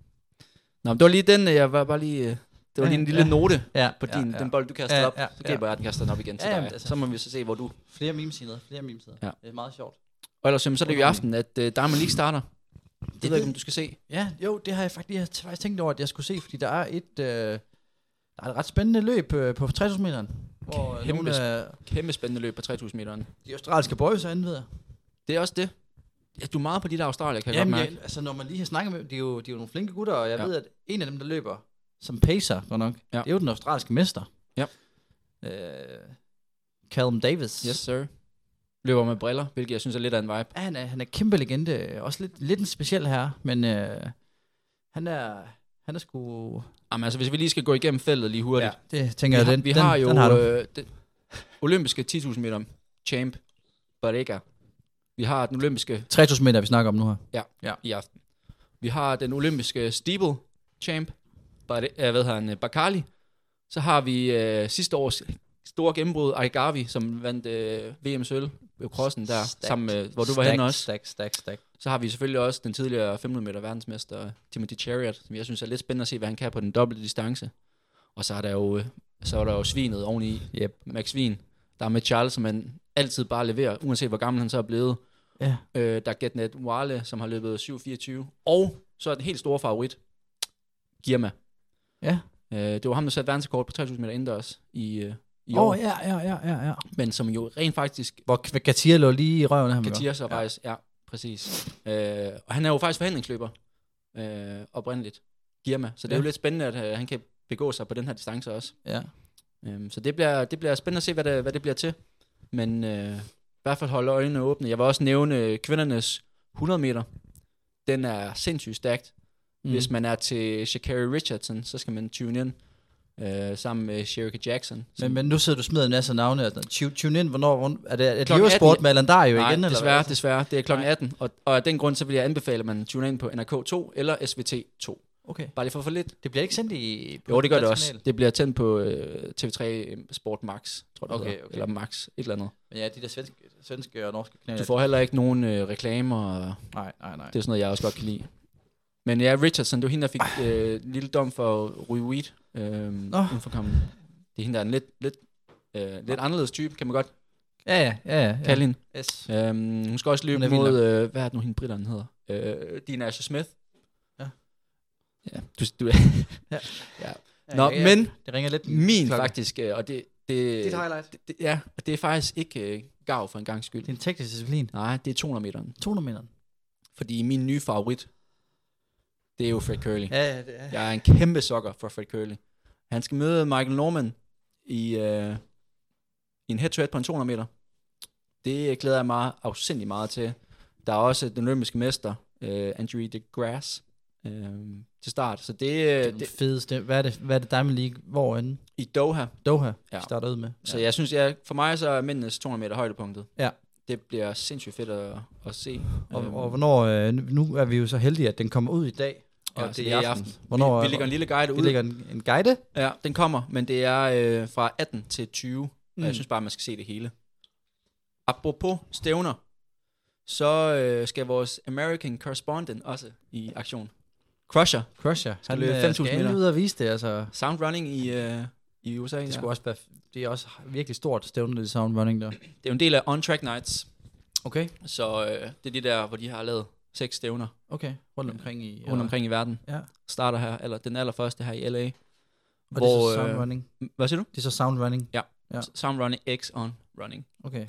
Speaker 4: Nå, men det var lige den, jeg var bare lige... øh, Det var
Speaker 5: Ja,
Speaker 4: lige en lille
Speaker 5: ja.
Speaker 4: note
Speaker 5: Ja,
Speaker 4: på din,
Speaker 5: ja, ja.
Speaker 4: den bold, du kastede
Speaker 5: Ja,
Speaker 4: op.
Speaker 5: ja,
Speaker 4: Så griber jeg den, kaster den op igen til
Speaker 5: Ja,
Speaker 4: dig.
Speaker 5: jamen, altså.
Speaker 4: Så må vi så se, hvor du...
Speaker 5: Flere memesider, flere memesider.
Speaker 4: Ja.
Speaker 5: Det er meget sjovt.
Speaker 4: Og ellers, jamen, så er det jo i aften, at uh, Diamond League starter. Det, ved
Speaker 5: Det
Speaker 4: jeg ikke,
Speaker 5: ved-
Speaker 4: om du skal se.
Speaker 5: Ja, jo, det har jeg faktisk, jeg har faktisk tænkt over, at jeg skulle se, fordi der er et, øh, der er et ret spændende løb øh, på 6000 meteren, hvor
Speaker 4: Kæmpe
Speaker 5: nogle af
Speaker 4: Kæmpe spændende løb på 3000 meteren.
Speaker 5: de australske boys er inde, ved jeg.
Speaker 4: Det er også det. Ja, du er meget på dit Australier, kan jeg
Speaker 5: Jamen,
Speaker 4: godt mærke.
Speaker 5: jeg, altså når man lige har snakket med dem, de er jo, de er jo nogle flinke gutter, og jeg
Speaker 4: Ja.
Speaker 5: ved, at en af dem, der løber som pacer, godt nok,
Speaker 4: Ja.
Speaker 5: det er jo den australske mester.
Speaker 4: Ja.
Speaker 5: Øh, Callum Davis.
Speaker 4: Yes, sir. Løber med briller, hvilket jeg synes er lidt af en vibe.
Speaker 5: Ja, han er, han er kæmpe legende, øh, også lidt, lidt en speciel herre, men øh, han er, han er sgu...
Speaker 4: Jamen, altså, hvis vi lige skal gå igennem feltet lige hurtigt.
Speaker 5: det tænker
Speaker 4: vi
Speaker 5: jeg,
Speaker 4: har,
Speaker 5: den,
Speaker 4: vi
Speaker 5: den,
Speaker 4: har jo
Speaker 5: den har du.
Speaker 4: øh, den, olympiske 10.000 meter champ, Barriga. Vi har den olympiske
Speaker 5: 3000 meter, vi snakker om nu her.
Speaker 4: i aften. Vi har den olympiske steeple champ, Bar- jeg ved han, øh, Bakali. Så har vi øh, sidste års store gennembrud, Aigavi, som vandt øh, VM sølv ved crossen der,
Speaker 5: Stærkt.
Speaker 4: sammen med, hvor du var
Speaker 5: Stack,
Speaker 4: henne også.
Speaker 5: Stack, stack, stack.
Speaker 4: Så har vi selvfølgelig også den tidligere 500 meter verdensmester, Timothy Chariot, som jeg synes er lidt spændende at se, hvad han kan på den dobbelte distance. Og så er der jo, øh, så er der jo svinet oveni,
Speaker 5: Yep.
Speaker 4: Max Svin, der er med Charles, som han altid bare leverer, uanset hvor gammel han så er blevet.
Speaker 5: Ja.
Speaker 4: Øh, der er Getnet Wale, som har løbet 7.24. Og så er den helt store favorit, Girma.
Speaker 5: Ja.
Speaker 4: Øh, det var ham, der satte verdensrekord på 3.000 meter indendørs i, øh, i
Speaker 5: Åh,
Speaker 4: år,
Speaker 5: oh, ja, ja, ja, ja, ja.
Speaker 4: men som jo rent faktisk
Speaker 5: Hvor K- Katia lå lige i røven af ham.
Speaker 4: Katia så faktisk, ja, præcis. Øh, og han er jo faktisk forhandlingsløber øh, oprindeligt, Girma. Så det er jo
Speaker 5: Ja.
Speaker 4: lidt spændende, at øh, han kan begå sig på den her distance også.
Speaker 5: Ja.
Speaker 4: Øhm, så det bliver, det bliver spændende at se, hvad det, hvad det bliver til. Men øh, i hvert fald holde øjnene åbne. Jeg vil også nævne øh, kvindernes 100 meter. Den er sindssygt stærkt. Mm. Hvis man er til Shakari Richardson, så skal man tune in øh, sammen med Sherika Jackson. som-
Speaker 5: Men, men nu sidder du og smider en masse navne. Altså. Tune, tune in, hvornår? hvornår- Er det et
Speaker 4: Klokken
Speaker 5: livesport
Speaker 4: 18.
Speaker 5: med Alan Dario
Speaker 4: Nej,
Speaker 5: igen? eller
Speaker 4: desværre,
Speaker 5: hvad?
Speaker 4: desværre. Det er klokken 18, og, og af den grund, så vil jeg anbefale, at man tuner ind på NRK2 eller SVT2.
Speaker 5: Okay.
Speaker 4: Bare lige for at få lidt.
Speaker 5: Det bliver ikke sendt i... på
Speaker 4: Jo, det gør det
Speaker 5: dansk
Speaker 4: også.
Speaker 5: kanal.
Speaker 4: Det bliver tændt på øh, TV3 Sport Max, tror jeg, det
Speaker 5: Okay,
Speaker 4: hedder.
Speaker 5: okay.
Speaker 4: Eller Max, et eller andet.
Speaker 5: Men ja, de der svenske, svenske og norske kanaler.
Speaker 4: Du får heller ikke nogen øh, reklamer, og
Speaker 5: Nej, nej, nej.
Speaker 4: det er sådan noget, jeg også godt kan lide. Men ja, Richardson, det var hende, der fik øh, en lille dom for Rui Weed. Øhm,
Speaker 5: Nå.
Speaker 4: oh. Det er hende, der er en lidt, lidt, øh, lidt anderledes type, kan man godt
Speaker 5: Ja, ja, ja. ja.
Speaker 4: kalde hende.
Speaker 5: Yes.
Speaker 4: Øhm, hun skal også
Speaker 5: Hun
Speaker 4: løbe
Speaker 5: er vild
Speaker 4: mod, øh, hvad er det nu, hende britteren hedder? Øh, Dina Asher Smith.
Speaker 5: Ja.
Speaker 4: Ja, du, du,
Speaker 5: Ja,
Speaker 4: Nå,
Speaker 5: ja, ja.
Speaker 4: men
Speaker 5: Det ringer lidt...
Speaker 4: min
Speaker 5: klokken.
Speaker 4: faktisk, øh, og det, det,
Speaker 5: Dit highlight.
Speaker 4: det, det, ja, og det er faktisk ikke øh, gav for en gang skyld.
Speaker 5: Det er en teknisk disciplin.
Speaker 4: Nej, det er 200 meteren.
Speaker 5: 200 meter.
Speaker 4: Fordi min nye favorit, det er jo Fred Curley.
Speaker 5: Ja, ja, det er.
Speaker 4: Jeg er en kæmpe sokker for Fred Curley. Han skal møde Michael Norman i, øh, i en head-to-head på en 200 meter. Det glæder jeg mig afsindelig meget til. Der er også den olympiske mester, øh, Andrew DeGrasse, øh, til start. Så det,
Speaker 5: Det
Speaker 4: øh,
Speaker 5: er den
Speaker 4: det
Speaker 5: fedeste. Hvad er det, hvad er det Diamond League? Hvor end?
Speaker 4: i Doha.
Speaker 5: Doha
Speaker 4: Ja.
Speaker 5: ja. starter ud med.
Speaker 4: Så jeg synes, jeg, for mig så er mændenes 200 meter højdepunktet.
Speaker 5: Ja.
Speaker 4: Det bliver sindssygt fedt at, at se.
Speaker 5: Og,
Speaker 4: Øhm,
Speaker 5: og hvornår, øh, nu er vi jo så heldige, at den kommer ud i dag, og
Speaker 4: ja,
Speaker 5: det,
Speaker 4: så
Speaker 5: er i aften. Hvornår,
Speaker 4: Hvornår, vi, vi lægger en lille guide
Speaker 5: vi
Speaker 4: ud.
Speaker 5: lægger en, en guide.
Speaker 4: Ja, den kommer, men det er øh, fra 18 til 20, mm. og
Speaker 5: Mm.
Speaker 4: jeg synes bare, man skal se det hele. Apropos stævner, så øh, skal vores American Correspondent også i aktion. Crusher,
Speaker 5: Crusher, han
Speaker 4: løbe
Speaker 5: øh,
Speaker 4: 5.000
Speaker 5: skal endelig
Speaker 4: meter.
Speaker 5: ud og vise det, altså.
Speaker 4: soundrunning i, øh, i USA.
Speaker 5: Det, skulle også være, det er også virkelig stort stævne, det sound running der.
Speaker 4: det er jo en del af On Track Nights,
Speaker 5: Okay,
Speaker 4: så øh, det er de der, hvor de har lavet seks stævner
Speaker 5: okay. Rundt omkring i...
Speaker 4: rundt omkring i verden.
Speaker 5: Ja.
Speaker 4: Starter her, eller den allerførste her i LA.
Speaker 5: Og det er så
Speaker 4: hvor,
Speaker 5: sound
Speaker 4: øh,
Speaker 5: running.
Speaker 4: Hvad siger du?
Speaker 5: Det er så sound running.
Speaker 4: Ja.
Speaker 5: Ja.
Speaker 4: Soundrunning X On Running.
Speaker 5: Okay.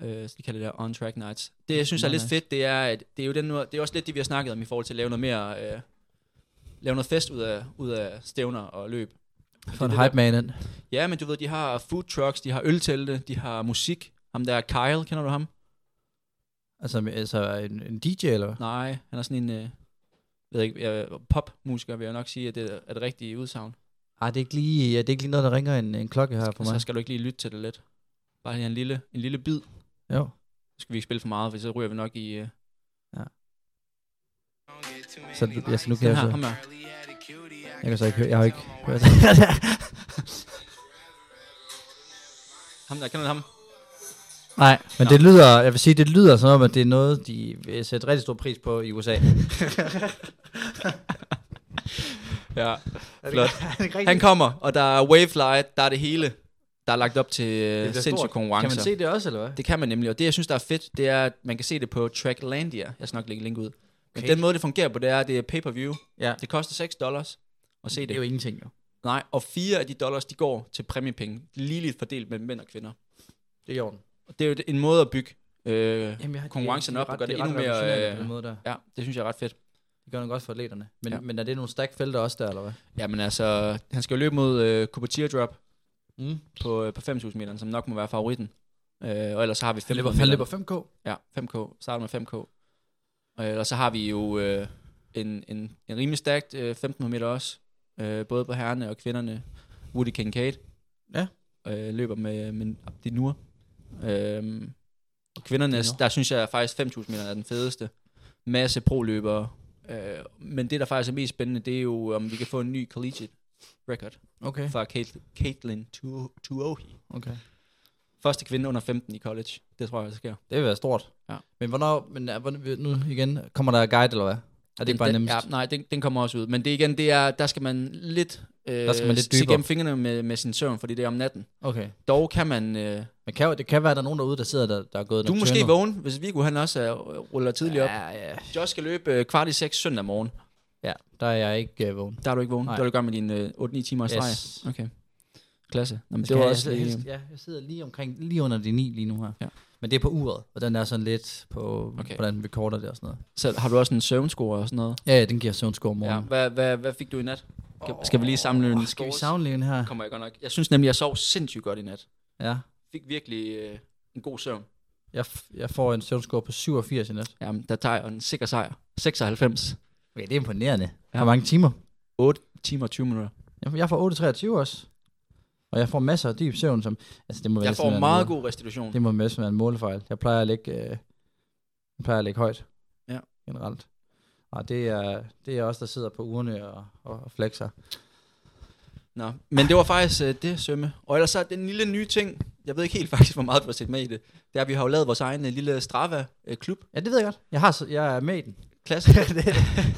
Speaker 4: øh, skal de kalde det der On Track Nights. Det, jeg synes er
Speaker 5: Mm, Meget
Speaker 4: lidt
Speaker 5: nice.
Speaker 4: fedt, det er, at det er jo den, nu- det er også lidt det, vi har snakket om i forhold til at lave noget mere, øh, lave noget fest ud af, ud af stævner og løb.
Speaker 5: For en
Speaker 4: det, der-
Speaker 5: hype man ind.
Speaker 4: Ja, men du ved, de har food trucks, de har øltelte, de har musik. Ham der er Kyle, kender du ham?
Speaker 5: Altså, altså en, en DJ eller hvad?
Speaker 4: Nej, han er sådan en, øh, ved jeg ikke, øh, popmusiker vil jeg nok sige, at det er det rigtige udsagn.
Speaker 5: Ej, det er ikke lige, ja, det er ikke lige noget, der ringer en, en klokke her for
Speaker 4: Så
Speaker 5: mig.
Speaker 4: skal du ikke lige lytte til det lidt. Bare lige en lille, en lille bid.
Speaker 5: Jo.
Speaker 4: Så skal vi ikke spille for meget, for så ryger vi nok i... Øh,
Speaker 5: Så du- altså, nu kan
Speaker 4: den
Speaker 5: jeg
Speaker 4: her, ham
Speaker 5: så...
Speaker 4: her.
Speaker 5: Jeg kan så ikke høre, jeg har ikke hørt
Speaker 4: Ham der, kender du ham?
Speaker 5: Nej, men det lyder, jeg vil sige, det lyder som om, at det er noget, de vil sætte rigtig stor pris på i USA.
Speaker 4: Ja, flot. Han kommer, og der er wavelight, der er det hele. Der er lagt op til øh, sindssyge konkurrencer.
Speaker 5: Kan man se det også, eller hvad?
Speaker 4: Det kan man nemlig, og det jeg synes, der er fedt, det er, at man kan se det på Tracklandia. Jeg skal nok lægge en link ud. Men
Speaker 5: Okay.
Speaker 4: den måde, det fungerer på, det er, at det er pay-per-view.
Speaker 5: Ja.
Speaker 4: Det koster 6 dollars at se det.
Speaker 5: det er jo ingenting, jo.
Speaker 4: Nej, og fire af de dollars, de går til præmiepenge. Ligeligt fordelt mellem mænd og kvinder.
Speaker 5: Det er i orden.
Speaker 4: Og det er jo en måde at bygge øh,
Speaker 5: Jamen, jeg,
Speaker 4: konkurrencen op og gøre det endnu mere... Øh,
Speaker 5: måde der.
Speaker 4: ja, det synes jeg er ret fedt.
Speaker 5: Det gør noget godt for atleterne. Men,
Speaker 4: Ja.
Speaker 5: men er det nogle stakfelter også der, eller hvad?
Speaker 4: Jamen altså, han skal jo løbe mod øh, Cooper Teardrop,
Speaker 5: Mm.
Speaker 4: på, øh, på 5.000 meter, som nok må være favoritten. Øh, og ellers så har vi 5
Speaker 5: Han løber, han løber 5K.
Speaker 4: Ja, 5K. Starter med 5K. Øh, og så har vi jo øh, en, en, en rimelig stærkt øh, 1.500 meter også. Øh, både på herrene og kvinderne. Woody Kincaid.
Speaker 5: Ja.
Speaker 4: Øh, løber med, med Abdi Nur. Øh, og kvinderne,
Speaker 5: Abdi Nour.
Speaker 4: der synes jeg faktisk 5.000 meter er den fedeste. Masse pro-løbere. Øh, men det, der faktisk er mest spændende, det er jo, om vi kan få en ny collegiate record
Speaker 5: Okay.
Speaker 4: fra Kate- Caitlin Tu- Tuohi.
Speaker 5: okay.
Speaker 4: Første kvinde under 15 i college. Det tror jeg, der sker.
Speaker 5: Det vil være stort.
Speaker 4: Ja.
Speaker 5: Men hvornår, men er, hvornår, nu igen, kommer der guide, eller hvad? Er det ikke bare
Speaker 4: den,
Speaker 5: nemmest?
Speaker 4: Ja, nej, den, den kommer også ud. Men det igen, det er, der skal man lidt, øh, der
Speaker 5: skal man lidt dybere.
Speaker 4: gennem fingrene med, med sin søvn, fordi det er om natten.
Speaker 5: Okay.
Speaker 4: Dog kan man... Øh,
Speaker 5: Men kan, jo- det kan være, at der er nogen derude, der sidder, der, der er gået
Speaker 4: du er måske
Speaker 5: nocturnal.
Speaker 4: vågen, hvis Viggo han også er, øh, ruller tidligere ja. op.
Speaker 5: Ja, ja.
Speaker 4: Josh skal løbe øh, kvart i seks søndag morgen.
Speaker 5: ja, der er jeg ikke øh, vågen.
Speaker 4: Der er du ikke vågen.
Speaker 5: Nej.
Speaker 4: Der er du i gang med dine øh, 8-9 timer i streg.
Speaker 5: Yes.
Speaker 4: Okay. Klasse. Nå, men
Speaker 5: Jeg
Speaker 4: det
Speaker 5: skal-
Speaker 4: var
Speaker 5: jeg
Speaker 4: også
Speaker 5: sidder
Speaker 4: lige...
Speaker 5: helst- Ja, jeg sidder lige omkring, lige under de ni lige nu her.
Speaker 4: Ja.
Speaker 5: Men det er på uret, og den er sådan lidt på,
Speaker 4: Okay.
Speaker 5: okay. hvordan vi korter det og sådan noget.
Speaker 4: Så har du også en søvnscore og sådan noget?
Speaker 5: Ja, ja, den giver søvnscore om
Speaker 4: Ja.
Speaker 5: morgenen.
Speaker 4: Hvad, hvad, hvad fik du i nat? Skal, skal vi lige samle en
Speaker 5: Åh, skal vi savne den her?
Speaker 4: Kommer jeg godt nok. Jeg synes nemlig, jeg sov sindssygt godt i nat.
Speaker 5: Ja.
Speaker 4: Fik virkelig øh, en god søvn.
Speaker 5: Jeg, f- jeg får en søvnscore på 87 i nat.
Speaker 4: Jamen, der tager jeg en sikker sejr. 96.
Speaker 5: Okay, det er imponerende. Ja. Hvor mange timer?
Speaker 4: 8 timer og 20 minutter.
Speaker 5: Jeg, jeg får 8,23 også. Og jeg får masser af dyb søvn, som... Altså, det må
Speaker 4: Jeg
Speaker 5: næsten være
Speaker 4: får
Speaker 5: en
Speaker 4: meget
Speaker 5: mål-
Speaker 4: god restitution.
Speaker 5: Det må næsten være en målefejl. Jeg plejer at ligge, øh, jeg plejer at ligge højt.
Speaker 4: Ja.
Speaker 5: Generelt. Og det er, det er os, der sidder på ugerne og, og, og flexer.
Speaker 4: Nå. Men det var faktisk øh, det, Sømme. Og ellers så er den lille nye ting, jeg ved ikke helt faktisk, hvor meget du har set med i det, det er, at vi har jo lavet vores egen øh, lille Strava-klub.
Speaker 5: Ja, det ved jeg godt. Jeg, har, så- jeg er med i den.
Speaker 4: Klasse.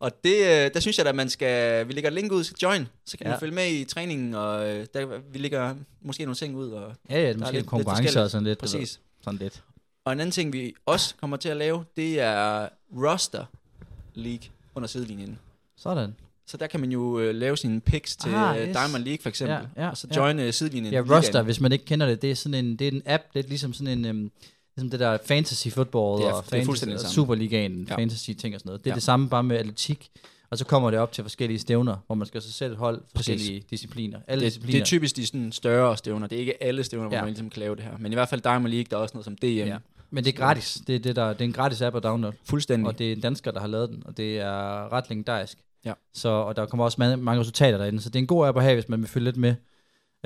Speaker 4: og det, øh, der synes jeg, at man skal, vi lægger et link ud til Join, så kan ja.
Speaker 5: Ja.
Speaker 4: man følge med i træningen, og øh, der, vi lægger måske nogle ting ud. Og,
Speaker 5: Ja, ja, det
Speaker 4: Der
Speaker 5: er
Speaker 4: er
Speaker 5: måske
Speaker 4: lidt-
Speaker 5: lidt,
Speaker 4: lidt
Speaker 5: konkurrencer
Speaker 4: forskelligt.
Speaker 5: og sådan lidt. du ved.
Speaker 4: præcis.
Speaker 5: Sådan lidt.
Speaker 4: Og en anden ting, vi også kommer til at lave, det er roster league under sidelinjen.
Speaker 5: Sådan.
Speaker 4: Så der kan man jo øh, lave sine picks til
Speaker 5: Ah,
Speaker 4: ah, yes.
Speaker 5: yes.
Speaker 4: Diamond League for eksempel,
Speaker 5: Ja, ja,
Speaker 4: og så
Speaker 5: ja.
Speaker 4: joine ja. sidelinjen.
Speaker 5: Ja,
Speaker 4: i ligaen.
Speaker 5: Roster, hvis man ikke kender det, det er sådan en, det er en app, lidt ligesom sådan en, øhm, ligesom det der fantasy football
Speaker 4: Det er-
Speaker 5: og
Speaker 4: det er
Speaker 5: fantasy,
Speaker 4: fuldstændig det
Speaker 5: og
Speaker 4: samme.
Speaker 5: Superligaen,
Speaker 4: Ja.
Speaker 5: ja. fantasy ting og sådan noget. Det er
Speaker 4: Ja.
Speaker 5: ja. det samme bare med atletik, og så kommer det op til forskellige stævner, hvor man skal så sætte hold forskellige discipliner. Alle
Speaker 4: Det,
Speaker 5: discipliner.
Speaker 4: det er typisk de sådan større stævner. Det er ikke alle stævner, ja.
Speaker 5: Ja.
Speaker 4: hvor man ligesom kan lave det her. Men i hvert fald Diamond League, der er også noget som DM. Ja.
Speaker 5: Ja. Men det er gratis. Det er, det, der, det er en gratis app at downloade.
Speaker 4: Fuldstændig.
Speaker 5: Og det er en dansker, der har lavet den, og det er ret legendarisk.
Speaker 4: Ja.
Speaker 5: Så, og der kommer også ma- mange resultater derinde, så det er en god app at have, hvis man vil følge lidt med.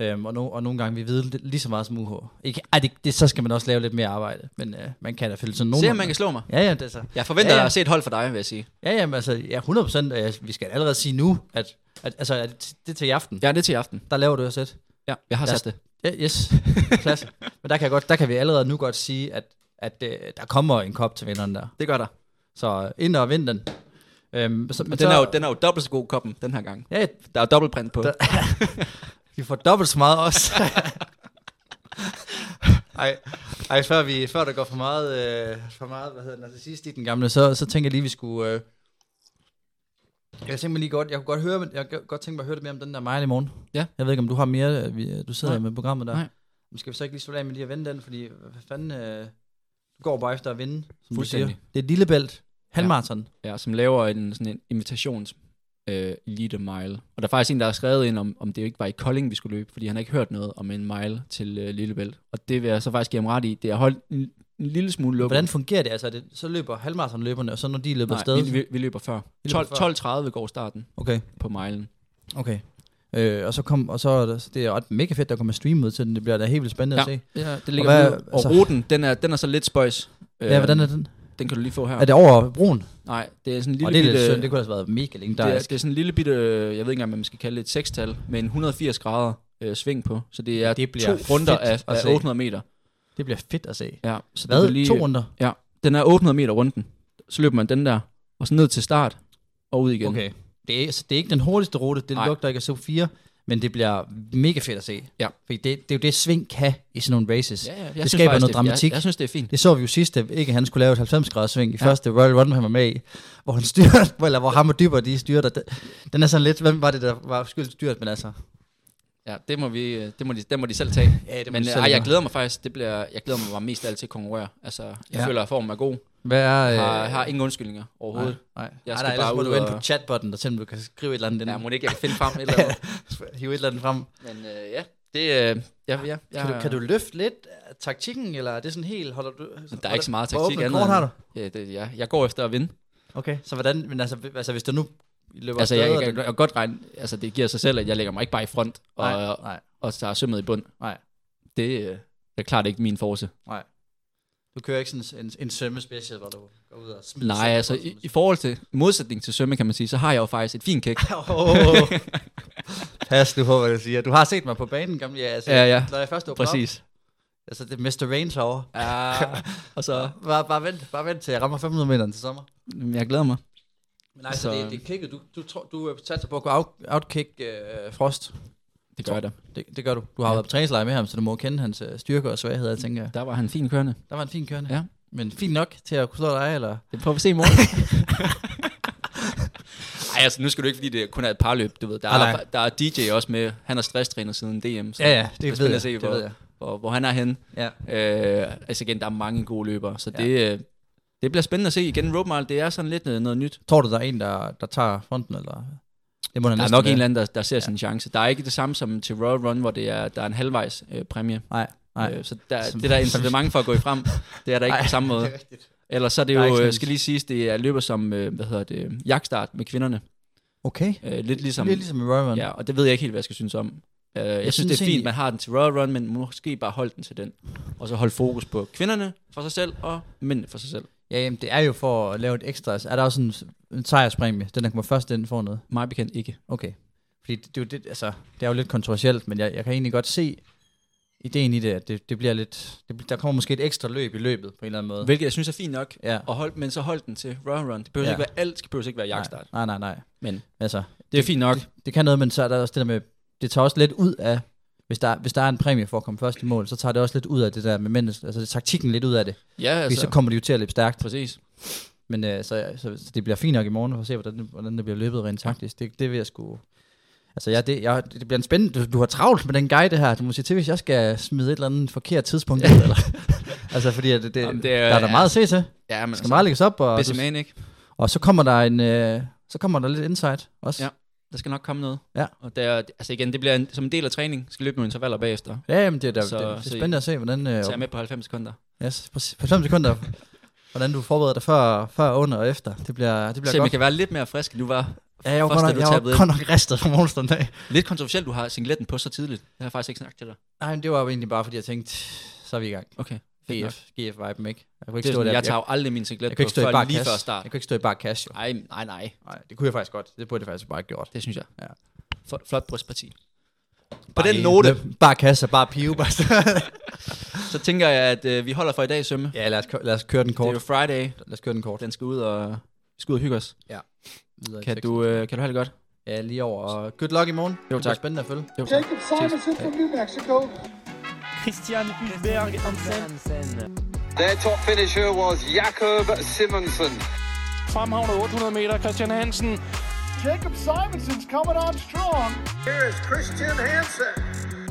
Speaker 5: Øhm, og, no, og nogle gange vi ved lidt- lige så meget som UH. Ikke, ej, det, det, så skal man også lave lidt mere arbejde, men øh, man kan da følge sådan nogen.
Speaker 4: Se om man kan slå mig.
Speaker 5: Ja, ja, det er så.
Speaker 4: Jeg forventer
Speaker 5: Ja, ja.
Speaker 4: at se et hold for dig, vil jeg sige.
Speaker 5: Ja, ja, men altså, ja, 100 procent. øh, Vi skal allerede sige nu, at, at, altså, at det- det er til i aften.
Speaker 4: Ja, det er til i aften.
Speaker 5: Der laver du også et.
Speaker 4: Ja, jeg har
Speaker 5: Lad os-
Speaker 4: sat det.
Speaker 5: Ja, yes, klasse. men der kan, jeg godt, der kan vi allerede nu godt sige, at, at øh, der kommer en kop til vinderen der.
Speaker 4: Det gør der.
Speaker 5: Så øh, ind og vind den. Øhm, så,
Speaker 4: Og den
Speaker 5: men så-
Speaker 4: er, jo, den er jo dobbelt så god koppen den her gang.
Speaker 5: Ja,
Speaker 4: Der er jo dobbeltprint på.
Speaker 5: Der- vi får dobbelt så meget også. ej, ej før, vi, før der går for meget, øh, for meget hvad hedder den, narcissist i den gamle, så, så tænker jeg lige, vi skulle... Øh, jeg tænker mig lige godt, jeg kunne godt høre, men jeg kunne godt tænke mig at høre lidt mere om den der Mejl i morgen.
Speaker 4: Ja.
Speaker 5: Jeg ved ikke, om du har mere, øh, vi, du sidder
Speaker 4: Nej.
Speaker 5: med programmet der.
Speaker 4: Nej.
Speaker 5: Men Skal vi så ikke lige slå af med lige at vinde den, fordi hvad fanden, øh, du går bare efter at vinde, som du siger.
Speaker 4: Fuldstændig.
Speaker 5: Det er et lille bælt, halvmarathon. Ja.
Speaker 4: ja, som laver en, sådan en invitations øh, elite mile. Og der er faktisk en, der har skrevet ind, om, om det ikke var i Kolding, vi skulle løbe, fordi han har ikke hørt noget om en mile til øh, Lillebælt. Og det vil jeg så faktisk give ham ret i. Det er holdt en, en lille smule lukket.
Speaker 5: Hvordan fungerer det? Altså, er det, så løber halvmarathonløberne, og så når de løber afsted...
Speaker 4: Nej, vi, vi, vi løber før.
Speaker 5: løber
Speaker 4: 12
Speaker 5: før.
Speaker 4: 12.30 går starten
Speaker 5: Okay.
Speaker 4: på milen.
Speaker 5: Okay. Øh, og så kom, og så er der, det er ret mega fedt, der kommer stream ud til den. Det bliver da helt vildt spændende ja. at se.
Speaker 4: ja det
Speaker 5: ligger hvad-
Speaker 4: ligger og, hvad, og
Speaker 5: altså-
Speaker 4: ruten, den er, den er så lidt spøjs. Øhm,
Speaker 5: Ja, hvordan er den?
Speaker 4: Den kan du lige få her.
Speaker 5: Er det over broen?
Speaker 4: Nej, det er sådan Øh, en
Speaker 5: Og
Speaker 4: lille
Speaker 5: det er lidt
Speaker 4: bitte...
Speaker 5: synd, det kunne altså have været mega
Speaker 4: Det er,
Speaker 5: legendarisk.
Speaker 4: det er sådan en lille bitte, øh, jeg ved ikke engang, hvad man skal kalde det, et sekstal med en 180 grader øh, sving på. Så det er
Speaker 5: Det bliver
Speaker 4: to runder
Speaker 5: fedt
Speaker 4: af,
Speaker 5: at
Speaker 4: af
Speaker 5: se.
Speaker 4: 800 meter.
Speaker 5: Det bliver fedt at se.
Speaker 4: Ja, så du
Speaker 5: Hvad?
Speaker 4: kan
Speaker 5: Lige... To runder?
Speaker 4: Ja, den er 800 meter runden. Så løber man den der, og så ned til start, og ud igen.
Speaker 5: Okay. Det er, så det er ikke den hurtigste rute, det
Speaker 4: Nej.
Speaker 5: Nej. lugter ikke af SO4, men det bliver mega fedt at se.
Speaker 4: Ja.
Speaker 5: Fordi det, det er jo det, sving kan i sådan nogle races.
Speaker 4: Ja, ja, jeg
Speaker 5: det
Speaker 4: synes
Speaker 5: skaber
Speaker 4: faktisk,
Speaker 5: noget
Speaker 4: det-
Speaker 5: dramatik.
Speaker 4: Jeg, jeg synes, det er fint.
Speaker 5: Det så vi jo sidst, at ikke han skulle lave et 90 graders sving i ja. første Royal Run, han var med i, hvor han styrte, eller hvor ham og Dybber, de styrte. og Den, den er sådan lidt, hvem var det, der var skyld styrt, men altså,
Speaker 4: Ja, det må, vi, øh, det må, de, det må de selv tage.
Speaker 5: Ja, det må
Speaker 4: Men
Speaker 5: de
Speaker 4: øh,
Speaker 5: selv
Speaker 4: ej, jeg
Speaker 5: gøre.
Speaker 4: glæder mig faktisk, det bliver, jeg glæder mig bare mest af alt til at konkurrere. Altså, jeg
Speaker 5: Ja.
Speaker 4: føler, at formen er god.
Speaker 5: Hvad er... øh,
Speaker 4: Jeg har, har ingen undskyldninger overhovedet.
Speaker 5: Nej, nej.
Speaker 4: Jeg
Speaker 5: Jeg
Speaker 4: skal
Speaker 5: skal Ej, nej,
Speaker 4: bare
Speaker 5: bare må
Speaker 4: ud
Speaker 5: du ind på
Speaker 4: og-
Speaker 5: chatbotten, der simpelthen du kan skrive et eller andet ind.
Speaker 4: Ja, må det ikke, jeg kan finde frem et eller andet.
Speaker 5: Hive et eller andet frem.
Speaker 4: Men øh, ja, det... Øh, ja, ja, jeg,
Speaker 5: Kan, du, kan du løfte lidt af taktikken, eller er det sådan helt... Holder du,
Speaker 4: Der er ikke så meget
Speaker 5: Hvor
Speaker 4: taktik
Speaker 5: åbent kort har du?
Speaker 4: Ja, det, ja, jeg går efter at vinde.
Speaker 5: Okay, så hvordan... Men altså, altså hvis du nu løber
Speaker 4: Altså, jeg,
Speaker 5: afsted,
Speaker 4: jeg,
Speaker 5: og
Speaker 4: jeg, jeg kan godt regne, altså det giver sig selv, at jeg lægger mig ikke bare i front og,
Speaker 5: Nej,
Speaker 4: og,
Speaker 5: nej,
Speaker 4: og tager sømmet i bund.
Speaker 5: nej,
Speaker 4: Det øh, er klart ikke min force.
Speaker 5: nej. Du kører ikke sådan en, en sømmespecial, hvor du går ud og smider
Speaker 4: Nej,
Speaker 5: sig-
Speaker 4: altså i, i forhold til i modsætning til sømme, kan man sige, så har jeg jo faktisk et fint kæk.
Speaker 5: Åh. Pas nu på, hvad du siger. Du har set mig på banen, gamle. Ja, altså,
Speaker 4: Ja, ja.
Speaker 5: Når jeg først åbner Op,
Speaker 4: Præcis.
Speaker 5: altså, det er Mr. Range herovre.
Speaker 4: Ja, og så,
Speaker 5: Bare, bare, vent, bare vent til jeg rammer 500 meter til sommer.
Speaker 4: jeg glæder mig.
Speaker 5: Men altså,
Speaker 4: Så-
Speaker 5: det, det klikkede. Du, du, tror, du øh, satser på at kunne out, outkick øh, Frost.
Speaker 4: Det gør jeg da.
Speaker 5: Det, det gør du. Du har ja.
Speaker 4: Ja.
Speaker 5: været på træningslejr med ham, så du må kende hans øh, styrker og svagheder, tænker jeg.
Speaker 4: Der var han fin kørende.
Speaker 5: Der var en fin kørende.
Speaker 4: Ja.
Speaker 5: Men fint nok til at kunne slå dig, eller?
Speaker 4: Det prøver vi se i morgen. Ej, altså nu skal du ikke, fordi det kun er et parløb, du ved. Der,
Speaker 5: Nej,
Speaker 4: er,
Speaker 5: nej.
Speaker 4: der er DJ også med. Han er stresstræner siden DM. Så
Speaker 5: det,
Speaker 4: ved
Speaker 5: ved
Speaker 4: jeg,
Speaker 5: jeg.
Speaker 4: se,
Speaker 5: det
Speaker 4: hvor-
Speaker 5: ved jeg.
Speaker 4: hvor, hvor han er henne.
Speaker 5: Ja.
Speaker 4: Øh, altså igen, der er mange gode løbere, så
Speaker 5: Ja.
Speaker 4: ja. det, øh, det bliver spændende at se. Igen, Road Mile, det er sådan lidt noget, noget nyt.
Speaker 5: Tror du, der er en, der, der tager fronten, eller? Det må
Speaker 4: Der er nok en eller anden, der, der ser ja. sin chance. Der er ikke det samme som til Royal Run, hvor det er, der er en halvvejs øh, præmie.
Speaker 5: Nej, nej.
Speaker 4: Øh, så der,
Speaker 5: Som-
Speaker 4: det der er
Speaker 5: som-
Speaker 4: incitament for at gå i frem, det er der ikke
Speaker 5: Ej,
Speaker 4: på samme måde.
Speaker 5: rigtigt.
Speaker 4: Ellers så er det
Speaker 5: Der er ikke
Speaker 4: jo,
Speaker 5: sådan
Speaker 4: øh,
Speaker 5: en-
Speaker 4: skal lige siges, det er løber som, øh, hvad hedder det, jagtstart med kvinderne.
Speaker 5: Okay.
Speaker 4: Øh, lidt
Speaker 5: Som,
Speaker 4: ligesom,
Speaker 5: det er ligesom i Røven.
Speaker 4: ja, og det ved jeg ikke helt, hvad jeg skal synes om. Øh, jeg, jeg synes, det
Speaker 5: synes
Speaker 4: er fint,
Speaker 5: egentlig-
Speaker 4: man har den til Royal Run, men måske bare holde den til den. Og så holde fokus på kvinderne for sig selv, og mændene for sig selv.
Speaker 5: ja, jamen, det er jo for at lave et ekstra. Altså, Er der også en, en sejrspræmie? Den, der kommer først, den får noget.
Speaker 4: Mig bekendt ikke.
Speaker 5: Okay. Fordi det, det, er jo det, altså, det er jo lidt kontroversielt, men jeg, jeg kan egentlig godt se ideen i det, at det, det bliver lidt... Det, bl- der kommer måske et ekstra løb i løbet, på en eller anden måde.
Speaker 4: Hvilket jeg synes er fint nok.
Speaker 5: Ja.
Speaker 4: Og hold, men så hold den til Royal Run. Det behøver
Speaker 5: Ja.
Speaker 4: ja. ikke være alt, det behøver ikke være jagtstart.
Speaker 5: Nej, nej, nej.
Speaker 4: Men
Speaker 5: Altså,
Speaker 4: det er fint nok.
Speaker 5: det kan noget, men så er der også det der med, det tager også lidt ud af, hvis der, hvis der er en præmie for at komme først i mål, så tager det også lidt ud af det der med mennesker, altså det, taktikken lidt ud af det, altså,
Speaker 4: Ja,
Speaker 5: fordi
Speaker 4: altså.
Speaker 5: så kommer de jo til at løbe stærkt,
Speaker 4: Præcis.
Speaker 5: men øh, så, så, så, det bliver fint nok i morgen, for at se, hvordan, det- hvordan det bliver løbet rent taktisk, det, det vil jeg sgu... Altså, jeg, det, jeg, det bliver en spændende... Du, du har travlt med den guide her. Du må sige til, hvis jeg skal smide et eller andet forkert tidspunkt. ud, eller, altså, fordi at det, det,
Speaker 4: Jamen,
Speaker 5: Jamen,
Speaker 4: det
Speaker 5: det,
Speaker 4: er-
Speaker 5: der er der meget at se til. Der
Speaker 4: Ja, men
Speaker 5: skal meget lægges op, og,
Speaker 4: altså,
Speaker 5: du,
Speaker 4: man, ikke?
Speaker 5: og så kommer der en... Øh, så kommer der lidt insight også.
Speaker 4: Ja. Der skal nok komme noget.
Speaker 5: Ja.
Speaker 4: Og der, altså igen, det bliver en, som en del af træning. Skal løbe nogle intervaller bagefter.
Speaker 5: Ja, jamen, det, er da-
Speaker 4: Så-
Speaker 5: det, det er
Speaker 4: så-
Speaker 5: spændende at se, hvordan... Øh,
Speaker 4: Så jeg er med på 90 sekunder.
Speaker 5: yes, på, på 5 sekunder, hvordan du forbereder dig før, før under og efter. Det bliver, det bliver
Speaker 4: Se, man
Speaker 5: godt.
Speaker 4: kan være lidt mere frisk, end du var.
Speaker 5: Ja, jeg var
Speaker 4: først,
Speaker 5: godt
Speaker 4: da du
Speaker 5: nok, jeg var
Speaker 4: tabede.
Speaker 5: godt nok ristet fra morgens den dag.
Speaker 4: Lidt kontroversielt, du har singletten på så tidligt. Det har jeg faktisk ikke snakket til dig.
Speaker 5: Nej, men det var jo egentlig bare, fordi jeg tænkte, så er vi i gang.
Speaker 4: Okay. Fedt nok.
Speaker 5: GF, GF-viben, ikke? Jeg
Speaker 4: Det
Speaker 5: kunne ikke
Speaker 4: er
Speaker 5: stå
Speaker 4: sådan,
Speaker 5: der.
Speaker 4: jeg tager jo aldrig min singlet
Speaker 5: jeg, jeg
Speaker 4: på,
Speaker 5: kunne ikke stå i
Speaker 4: før
Speaker 5: bare
Speaker 4: lige
Speaker 5: cash.
Speaker 4: før start.
Speaker 5: Jeg kunne ikke stå i bare cash, jo.
Speaker 4: Nej, nej, nej.
Speaker 5: Nej, det kunne jeg faktisk godt. Det burde jeg faktisk bare have gjort.
Speaker 4: Det synes jeg.
Speaker 5: Ja.
Speaker 4: Fl- Flot brystparti. På
Speaker 5: Bare
Speaker 4: den
Speaker 5: i-
Speaker 4: note,
Speaker 5: Bare kasse og bare pive. Bare
Speaker 4: så tænker jeg, at øh, vi holder for i dag, Sømme.
Speaker 5: ja, lad os, kø- lad os køre den
Speaker 4: Det
Speaker 5: kort.
Speaker 4: er jo Friday.
Speaker 5: Lad os køre den kort.
Speaker 4: Den skal ud og, skal ud og hygge os.
Speaker 5: Videre i
Speaker 4: Kan
Speaker 5: teksten.
Speaker 4: du, øh, kan du have det godt?
Speaker 5: Ja, lige over. Og good luck i morgen. Det bliver
Speaker 4: tak.
Speaker 5: spændende at følge.
Speaker 4: Jo, tak.
Speaker 1: Jacob Simonson from New Mexico.
Speaker 2: Christian Hulberg Hansen.
Speaker 3: Their top finisher was Jakob Simonsen.
Speaker 2: Fremhavnet 800 meter, Christian Hansen.
Speaker 1: Jacob Simonson's coming on strong. Here is Christian Hansen.